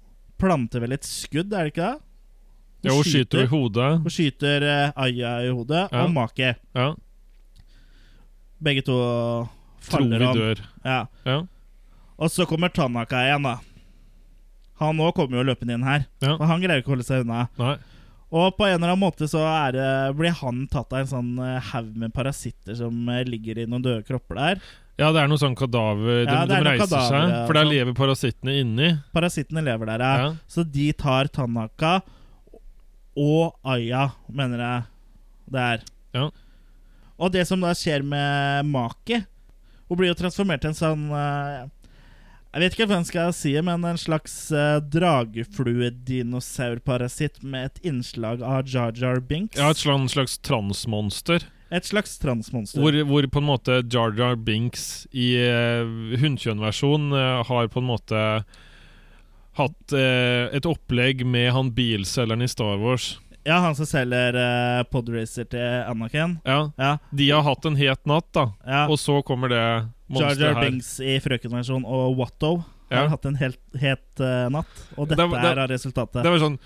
Speaker 1: planter vel et skudd, er det ikke det?
Speaker 2: Ja, hun skyter jo i hodet.
Speaker 1: Hun skyter eh, Aya i hodet,
Speaker 2: Ja.
Speaker 1: og Maki.
Speaker 2: Ja.
Speaker 1: Begge to
Speaker 2: Tror
Speaker 1: faller
Speaker 2: vi
Speaker 1: om.
Speaker 2: dør.
Speaker 1: Ja.
Speaker 2: Ja.
Speaker 1: Og så kommer Tanaka igjen, da. Han òg kommer jo løpende inn her.
Speaker 2: Ja.
Speaker 1: Og han greier ikke å holde seg unna.
Speaker 2: Nei.
Speaker 1: Og på en eller annen måte så er det, blir han tatt av en sånn eh, haug med parasitter som eh, ligger i noen døde kropper der.
Speaker 2: Ja, det er noe sånn kadaver De,
Speaker 1: Ja, det
Speaker 2: de
Speaker 1: er noe
Speaker 2: reiser
Speaker 1: kadaver,
Speaker 2: seg,
Speaker 1: ja,
Speaker 2: for der
Speaker 1: sånn.
Speaker 2: lever parasittene inni.
Speaker 1: Parasittene lever der, ja.
Speaker 2: Ja.
Speaker 1: Så de tar Tanaka og Aya, mener jeg det er.
Speaker 2: Ja.
Speaker 1: Og det som da skjer med Maki Hun blir jo transformert til en sånn eh, Jeg vet ikke hva jeg skal si, men en slags eh, dragefluedinosaurparasitt med et innslag av Jar Jar Binks.
Speaker 2: Ja, et slags, slags transmonster,
Speaker 1: Et slags transmonster.
Speaker 2: hvor, hvor på en måte Jar Jar Binks i eh, hunnkjønnversjon eh, har på en måte hatt eh, et opplegg med han bilselgeren i Star Wars.
Speaker 1: Ja, han som selger eh, Podracer til Anakin.
Speaker 2: Ja,
Speaker 1: Ja,
Speaker 2: De har hatt en het natt, da,
Speaker 1: ja.
Speaker 2: og så kommer det
Speaker 1: Jar
Speaker 2: monsteret
Speaker 1: Jar
Speaker 2: her.
Speaker 1: Binks i Frøkenversjon og Watto har
Speaker 2: Ja.
Speaker 1: hatt en helt het eh, natt, og
Speaker 2: Det
Speaker 1: dette
Speaker 2: var-
Speaker 1: er
Speaker 2: det-
Speaker 1: av resultatet.
Speaker 2: Det var sånn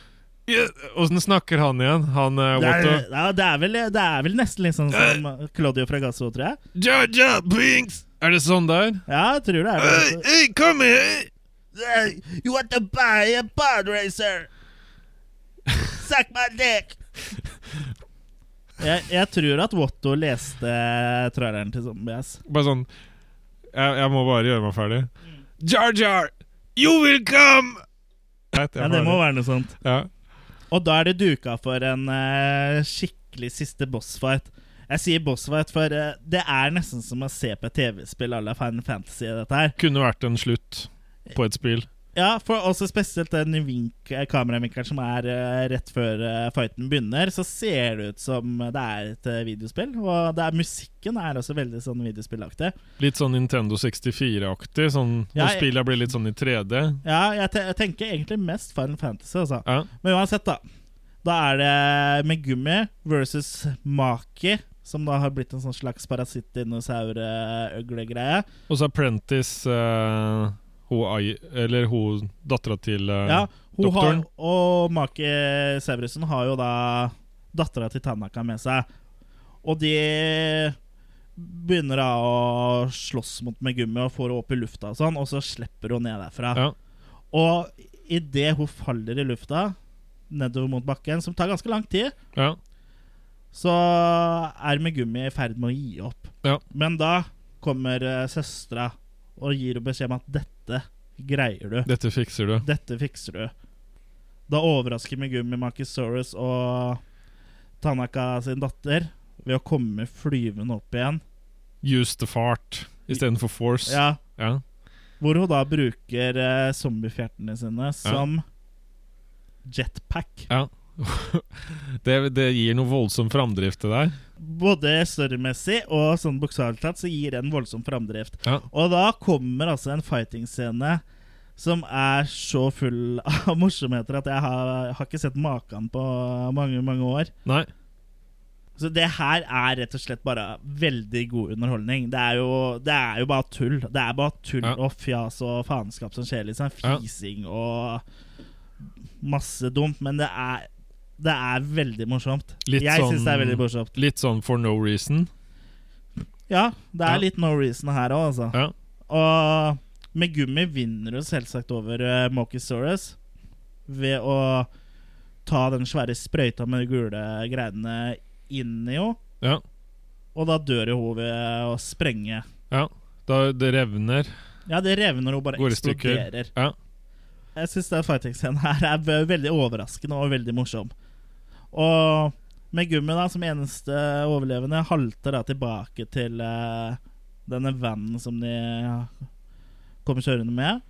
Speaker 2: Åssen snakker han igjen? Han uh,
Speaker 1: Det er, ja, det, er vel, det er vel nesten litt sånn som Claudio fra Gasso, tror jeg.
Speaker 2: Jar Jar Binks! Er det sånn der?
Speaker 1: Ja, jeg tror det er
Speaker 2: Hey,
Speaker 1: det.
Speaker 2: hey, kom her!
Speaker 1: Hey, You want to buy a pod racer? Suck my dick! Jeg, jeg tror at Watto leste traileren til Zombies.
Speaker 2: Bare sånn jeg, jeg må bare gjøre meg ferdig. Jar Jar, you will come! Right, jeg
Speaker 1: Ja, det
Speaker 2: er
Speaker 1: må
Speaker 2: ferdig.
Speaker 1: være noe sånt.
Speaker 2: Ja.
Speaker 1: Og da er det duka for en eh, skikkelig siste bossfight. Jeg sier bossfight, for eh, det er nesten som å se på et TV-spill à la Final Fantasy. dette her
Speaker 2: Kunne vært en slutt på et spill.
Speaker 1: Ja, for også spesielt den vink eh, kameravinkelen som er eh, rett før eh, fighten begynner, så ser det ut som det er et eh, videospill. Og det er, musikken er også veldig sånn videospillaktig.
Speaker 2: Litt sånn Nintendo 64-aktig, sånn
Speaker 1: Ja,
Speaker 2: når
Speaker 1: jeg-
Speaker 2: spillene blir litt sånn i 3D.
Speaker 1: Ja, jeg, te jeg tenker egentlig mest Final Fantasy, altså.
Speaker 2: Ja.
Speaker 1: Men uansett, da. Da er det Megumi versus Maki, som da har blitt en sånn slags eh, parasittdinosaur-øgle-greie.
Speaker 2: Og så er Prentice eh, hun, ai- eller hun dattera til eh,
Speaker 1: Ja, hun har,
Speaker 2: doktoren.
Speaker 1: og Maki Sevrusen har jo da dattera til Tanaka med seg. Og de begynner da å slåss mot Megumi og får henne opp i lufta og sånn, og så slipper hun ned derfra.
Speaker 2: Ja.
Speaker 1: Og idet hun faller i lufta nedover mot bakken, som tar ganske lang tid,
Speaker 2: ja.
Speaker 1: så er Megumi i ferd med å gi opp.
Speaker 2: Ja.
Speaker 1: Men da kommer eh, søstera og gir henne beskjed om at dette greier du.
Speaker 2: Dette fikser du.
Speaker 1: Dette fikser du. Da overrasker Megumi Makisaurus og Tanaka sin datter ved å komme flyvende opp igjen.
Speaker 2: Use the fart istedenfor force.
Speaker 1: Ja,
Speaker 2: Ja.
Speaker 1: hvor hun da bruker eh, zombiefjertene sine som jetpack.
Speaker 2: Ja. Det, det gir noe voldsom framdrift til deg.
Speaker 1: Både størremessig og sånn bokstavelig talt så gir det en voldsom framdrift.
Speaker 2: Ja.
Speaker 1: Og da kommer altså en fighting-scene som er så full av morsomheter at jeg har, har ikke sett maken på mange, mange år.
Speaker 2: Nei.
Speaker 1: Så det her er rett og slett bare veldig god underholdning. Det er jo, det er jo bare tull. Det er bare tull
Speaker 2: Ja.
Speaker 1: og fjas og faenskap som skjer. Liksom.
Speaker 2: Ja.
Speaker 1: Fising og masse dumt. Men det er, det er veldig morsomt.
Speaker 2: Litt
Speaker 1: jeg
Speaker 2: sånn-
Speaker 1: syns det er veldig morsomt.
Speaker 2: Litt sånn for no reason.
Speaker 1: Ja, det
Speaker 2: Ja.
Speaker 1: er litt no reason her òg, altså.
Speaker 2: Ja.
Speaker 1: Og Megumi vinner jo selvsagt over uh, Mokisaurus ved å ta den svære sprøyta med de gule greiene inn i henne.
Speaker 2: Ja.
Speaker 1: Og da dør jo hun ved å sprenge.
Speaker 2: ja. Da det revner.
Speaker 1: Ja, det revner og bare
Speaker 2: Går i stykker.
Speaker 1: eksploderer.
Speaker 2: Ja.
Speaker 1: Jeg syns den fighting-scenen her er ve- veldig overraskende og veldig morsom. Og Megumi, da, som eneste overlevende, halter da tilbake til eh, denne vanen som de kommer kjørende med.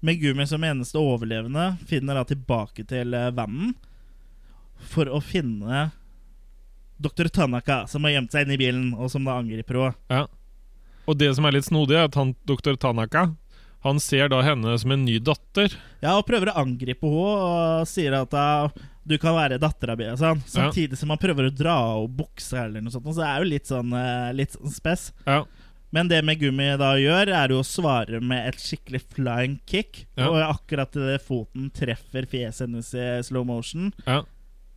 Speaker 1: Megumi som eneste overlevende finner da tilbake til eh, vanen for å finne Dr. Tanaka, som har gjemt seg inne i bilen, og som da angriper henne.
Speaker 2: Ja. Og det som er litt snodig, er at han, doktor Tanaka han ser da henne som en ny datter.
Speaker 1: Ja, og prøver å angripe henne og sier at ah, du kan være dattera mi. og Sånn.
Speaker 2: Ja.
Speaker 1: Samtidig som han prøver å dra av buksa eller noe sånt. Så det er jo litt sånn, eh, litt sånn spess.
Speaker 2: Ja.
Speaker 1: Men det Megumi da gjør, er jo å svare med et skikkelig flying kick.
Speaker 2: Ja.
Speaker 1: Og akkurat idet foten treffer fjeset hennes i slow motion,
Speaker 2: Ja.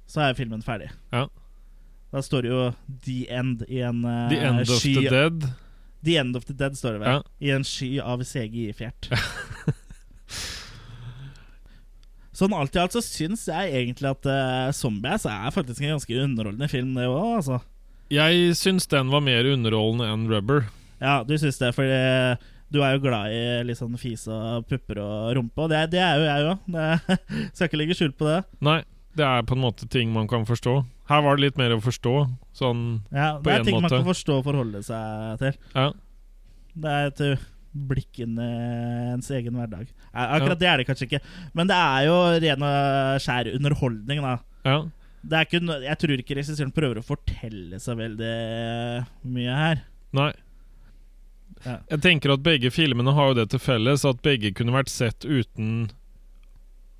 Speaker 1: så er filmen ferdig.
Speaker 2: Ja.
Speaker 1: Da står det jo 'The End' i en eh,
Speaker 2: The end of
Speaker 1: sky
Speaker 2: the dead.
Speaker 1: The End of the Dead, står det vel. I en sky av CGI-fjert. sånn alt i alt så syns jeg egentlig at eh, Zombies er faktisk en ganske underholdende film, det òg, altså.
Speaker 2: Jeg syns den var mer underholdende enn Rubber.
Speaker 1: Ja, du syns det, fordi du er jo glad i litt sånn fis og pupper og rumpe, og det, det er jo jeg òg. Skal ikke legge skjul på det.
Speaker 2: Nei, det er på en måte ting man kan forstå. Her var det litt mer å forstå. Sånn
Speaker 1: Ja,
Speaker 2: På
Speaker 1: det
Speaker 2: en
Speaker 1: er ting man
Speaker 2: måte.
Speaker 1: kan forstå og forholde seg til.
Speaker 2: Ja.
Speaker 1: Det er et uh, blikk inn i ens egen hverdag. Eh, Akkurat det er det kanskje ikke, men det er jo ren og skjær underholdning, da.
Speaker 2: ja.
Speaker 1: Det er ikke, no- jeg tror ikke regissøren prøver å fortelle så veldig øh, mye her.
Speaker 2: Nei.
Speaker 1: Ja.
Speaker 2: Jeg tenker at begge filmene har jo det til felles at begge kunne vært sett uten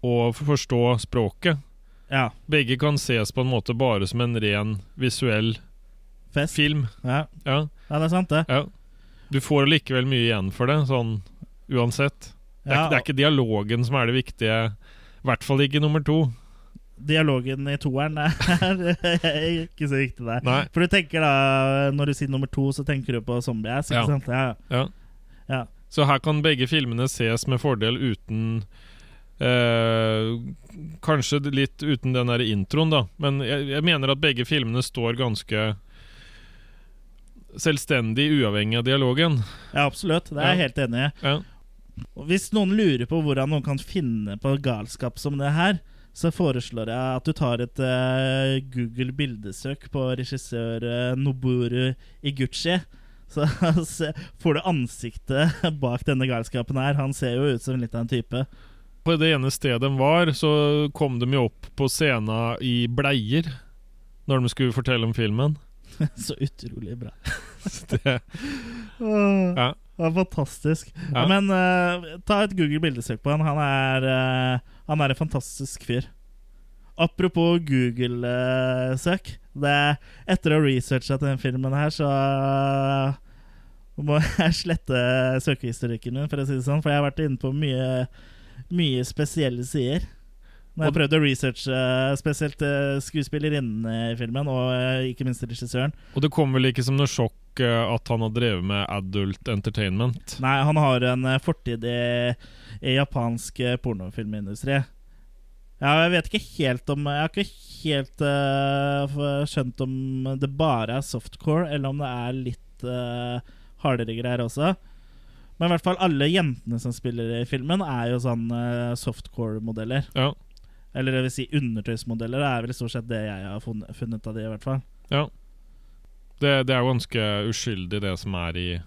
Speaker 2: å forstå språket.
Speaker 1: Ja,
Speaker 2: Begge kan ses på en måte bare som en ren visuell
Speaker 1: fest.
Speaker 2: film.
Speaker 1: Ja.
Speaker 2: Ja,
Speaker 1: ja, det er sant, det.
Speaker 2: ja. Du får likevel mye igjen for det, sånn uansett. Det er,
Speaker 1: Ja,
Speaker 2: ikke, det er ikke dialogen som er det viktige. I hvert fall ikke nummer to.
Speaker 1: Dialogen i toeren er ikke så viktig der.
Speaker 2: Nei.
Speaker 1: For du tenker da, øh, når du sier nummer to, så tenker du på zombies, ikke
Speaker 2: Ja.
Speaker 1: sant? Ja,
Speaker 2: Ja.
Speaker 1: ja.
Speaker 2: Så her kan begge filmene ses med fordel uten eh, Kanskje litt uten den der introen, da. Men jeg, jeg mener at begge filmene står ganske selvstendig, uavhengig av dialogen.
Speaker 1: ja absolutt. Det er jeg
Speaker 2: Ja.
Speaker 1: helt enig i.
Speaker 2: Ja,
Speaker 1: Og Hvis noen lurer på hvordan noen kan finne på galskap som det her, så foreslår jeg at du tar et eh, Google bildesøk på regissør eh, Noboru Iguchi. Så se- får du ansiktet bak denne galskapen her. Han ser jo ut som litt av en type.
Speaker 2: På det ene stedet de var, så kom de jo opp på scenen i bleier når de skulle fortelle om filmen.
Speaker 1: Så utrolig bra.
Speaker 2: Så Det,
Speaker 1: Åh,
Speaker 2: ja.
Speaker 1: det var fantastisk.
Speaker 2: Ja.
Speaker 1: Men eh, ta et Google-bildesøk på han. Han er, eh, han er en fantastisk fyr. Apropos Google-søk. det etter å ha researcha den filmen her, så eh, må jeg slette søkehistorikken min, for å si det sånn. For jeg har vært inne på mye, mye spesielle sider. Når jeg
Speaker 2: Og-
Speaker 1: prøvde å researche spesielt eh, skuespillerinnen i filmen, og eh, ikke minst regissøren.
Speaker 2: Og det kom vel ikke som noe sjokk eh, at han har drevet med adult entertainment.
Speaker 1: Nei, han har en eh, fortid i, i japansk eh, pornofilmindustri. Ja, jeg vet ikke helt om Jeg har ikke helt eh, f- skjønt om det bare er softcore, eller om det er litt eh, hardere greier også. Men i hvert fall alle jentene som spiller i filmen, er jo sånn eh, softcore-modeller.
Speaker 2: Ja,
Speaker 1: Eller det vil si undertøysmodeller. Det er vel stort sett det jeg har fun- funnet av de, i hvert fall.
Speaker 2: ja. Det, det er jo ganske uskyldig, det som er i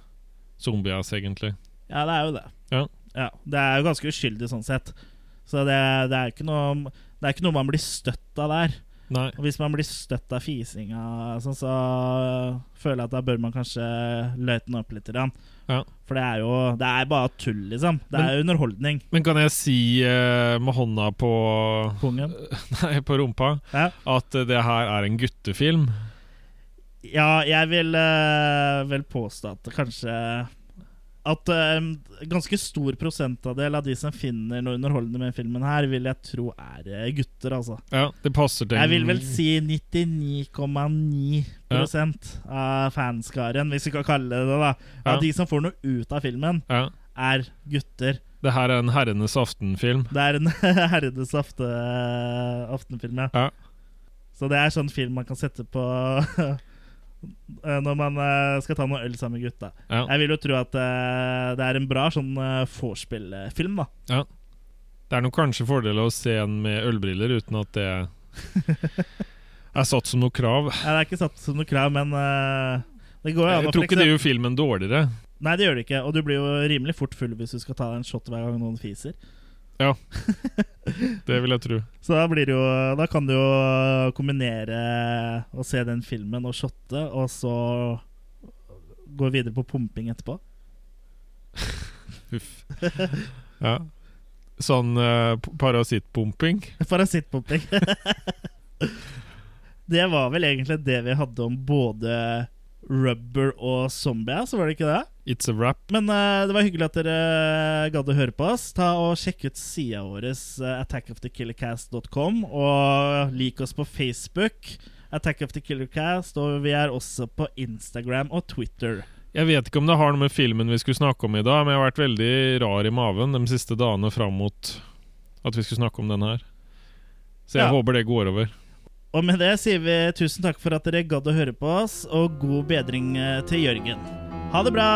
Speaker 2: Zombias, egentlig.
Speaker 1: Ja, det er jo det.
Speaker 2: Ja.
Speaker 1: Det er jo ganske uskyldig sånn sett. Så det, det, er, ikke noe, det er ikke noe man blir støtt av der.
Speaker 2: Nei.
Speaker 1: Og hvis man blir støtt av fisinga, sånn, så føler jeg at da bør man kanskje løyte den opp litt. Grann.
Speaker 2: Ja.
Speaker 1: For det er jo det er bare tull, liksom. Det er underholdning.
Speaker 2: Men kan jeg si eh, med hånda på
Speaker 1: Kongen.
Speaker 2: Nei, på rumpa
Speaker 1: Ja.
Speaker 2: at eh, det her er en guttefilm?
Speaker 1: Ja, jeg vil eh, vel påstå at det kanskje At eh, en ganske stor prosentandel av de som finner noe underholdende med filmen her, vil jeg tro er eh, gutter, altså.
Speaker 2: Ja, det passer til
Speaker 1: Jeg vil vel si 99,9 av fanskaren, hvis vi kan kalle det det. da Av
Speaker 2: Ja.
Speaker 1: de som får noe ut av filmen,
Speaker 2: ja.
Speaker 1: er gutter.
Speaker 2: Det her er en herrenes aften-film.
Speaker 1: Det er en herredes afte, aftenfilm, ja.
Speaker 2: Ja.
Speaker 1: Så det er sånn film man kan sette på når man eh, skal ta noe øl sammen med gutta.
Speaker 2: Ja.
Speaker 1: Jeg vil jo tro at eh, det er en bra sånn eh, vorspiel-film, da.
Speaker 2: Det er nok kanskje fordel å se en med ølbriller uten at det er satt som noe krav.
Speaker 1: Ja, det er ikke satt som noe krav, men eh, det går jo an å
Speaker 2: Jeg tror
Speaker 1: for
Speaker 2: ikke det gjør filmen dårligere.
Speaker 1: Nei, det gjør det ikke. Og du blir jo rimelig fort full hvis du skal ta deg en shot hver gang noen fiser.
Speaker 2: Det vil jeg tro.
Speaker 1: Så da blir det jo Da kan du jo kombinere å se den filmen og shotte, og så gå videre på pumping etterpå.
Speaker 2: Huff. Ja. Sånn eh, p- parasittpumping.
Speaker 1: Parasittpumping. det var vel egentlig det vi hadde om både Rubber og Zombie, så var det ikke det?
Speaker 2: It's a wrap.
Speaker 1: Men eh, det var hyggelig at dere eh, gadd å høre på oss. Ta og Sjekk ut sida vår, uh, attackofthekillercast.com, og lik oss på Facebook. Attack of the Killercast, og vi er også på Instagram og Twitter.
Speaker 2: Jeg vet ikke om det har noe med filmen vi skulle snakke om i dag, men jeg har vært veldig rar i maven de siste dagene fram mot at vi skulle snakke om den her. Så jeg
Speaker 1: Ja.
Speaker 2: håper det går over.
Speaker 1: Og med det sier vi tusen takk for at dere gadd å høre på oss, og god bedring eh, til Jørgen. Ha det bra!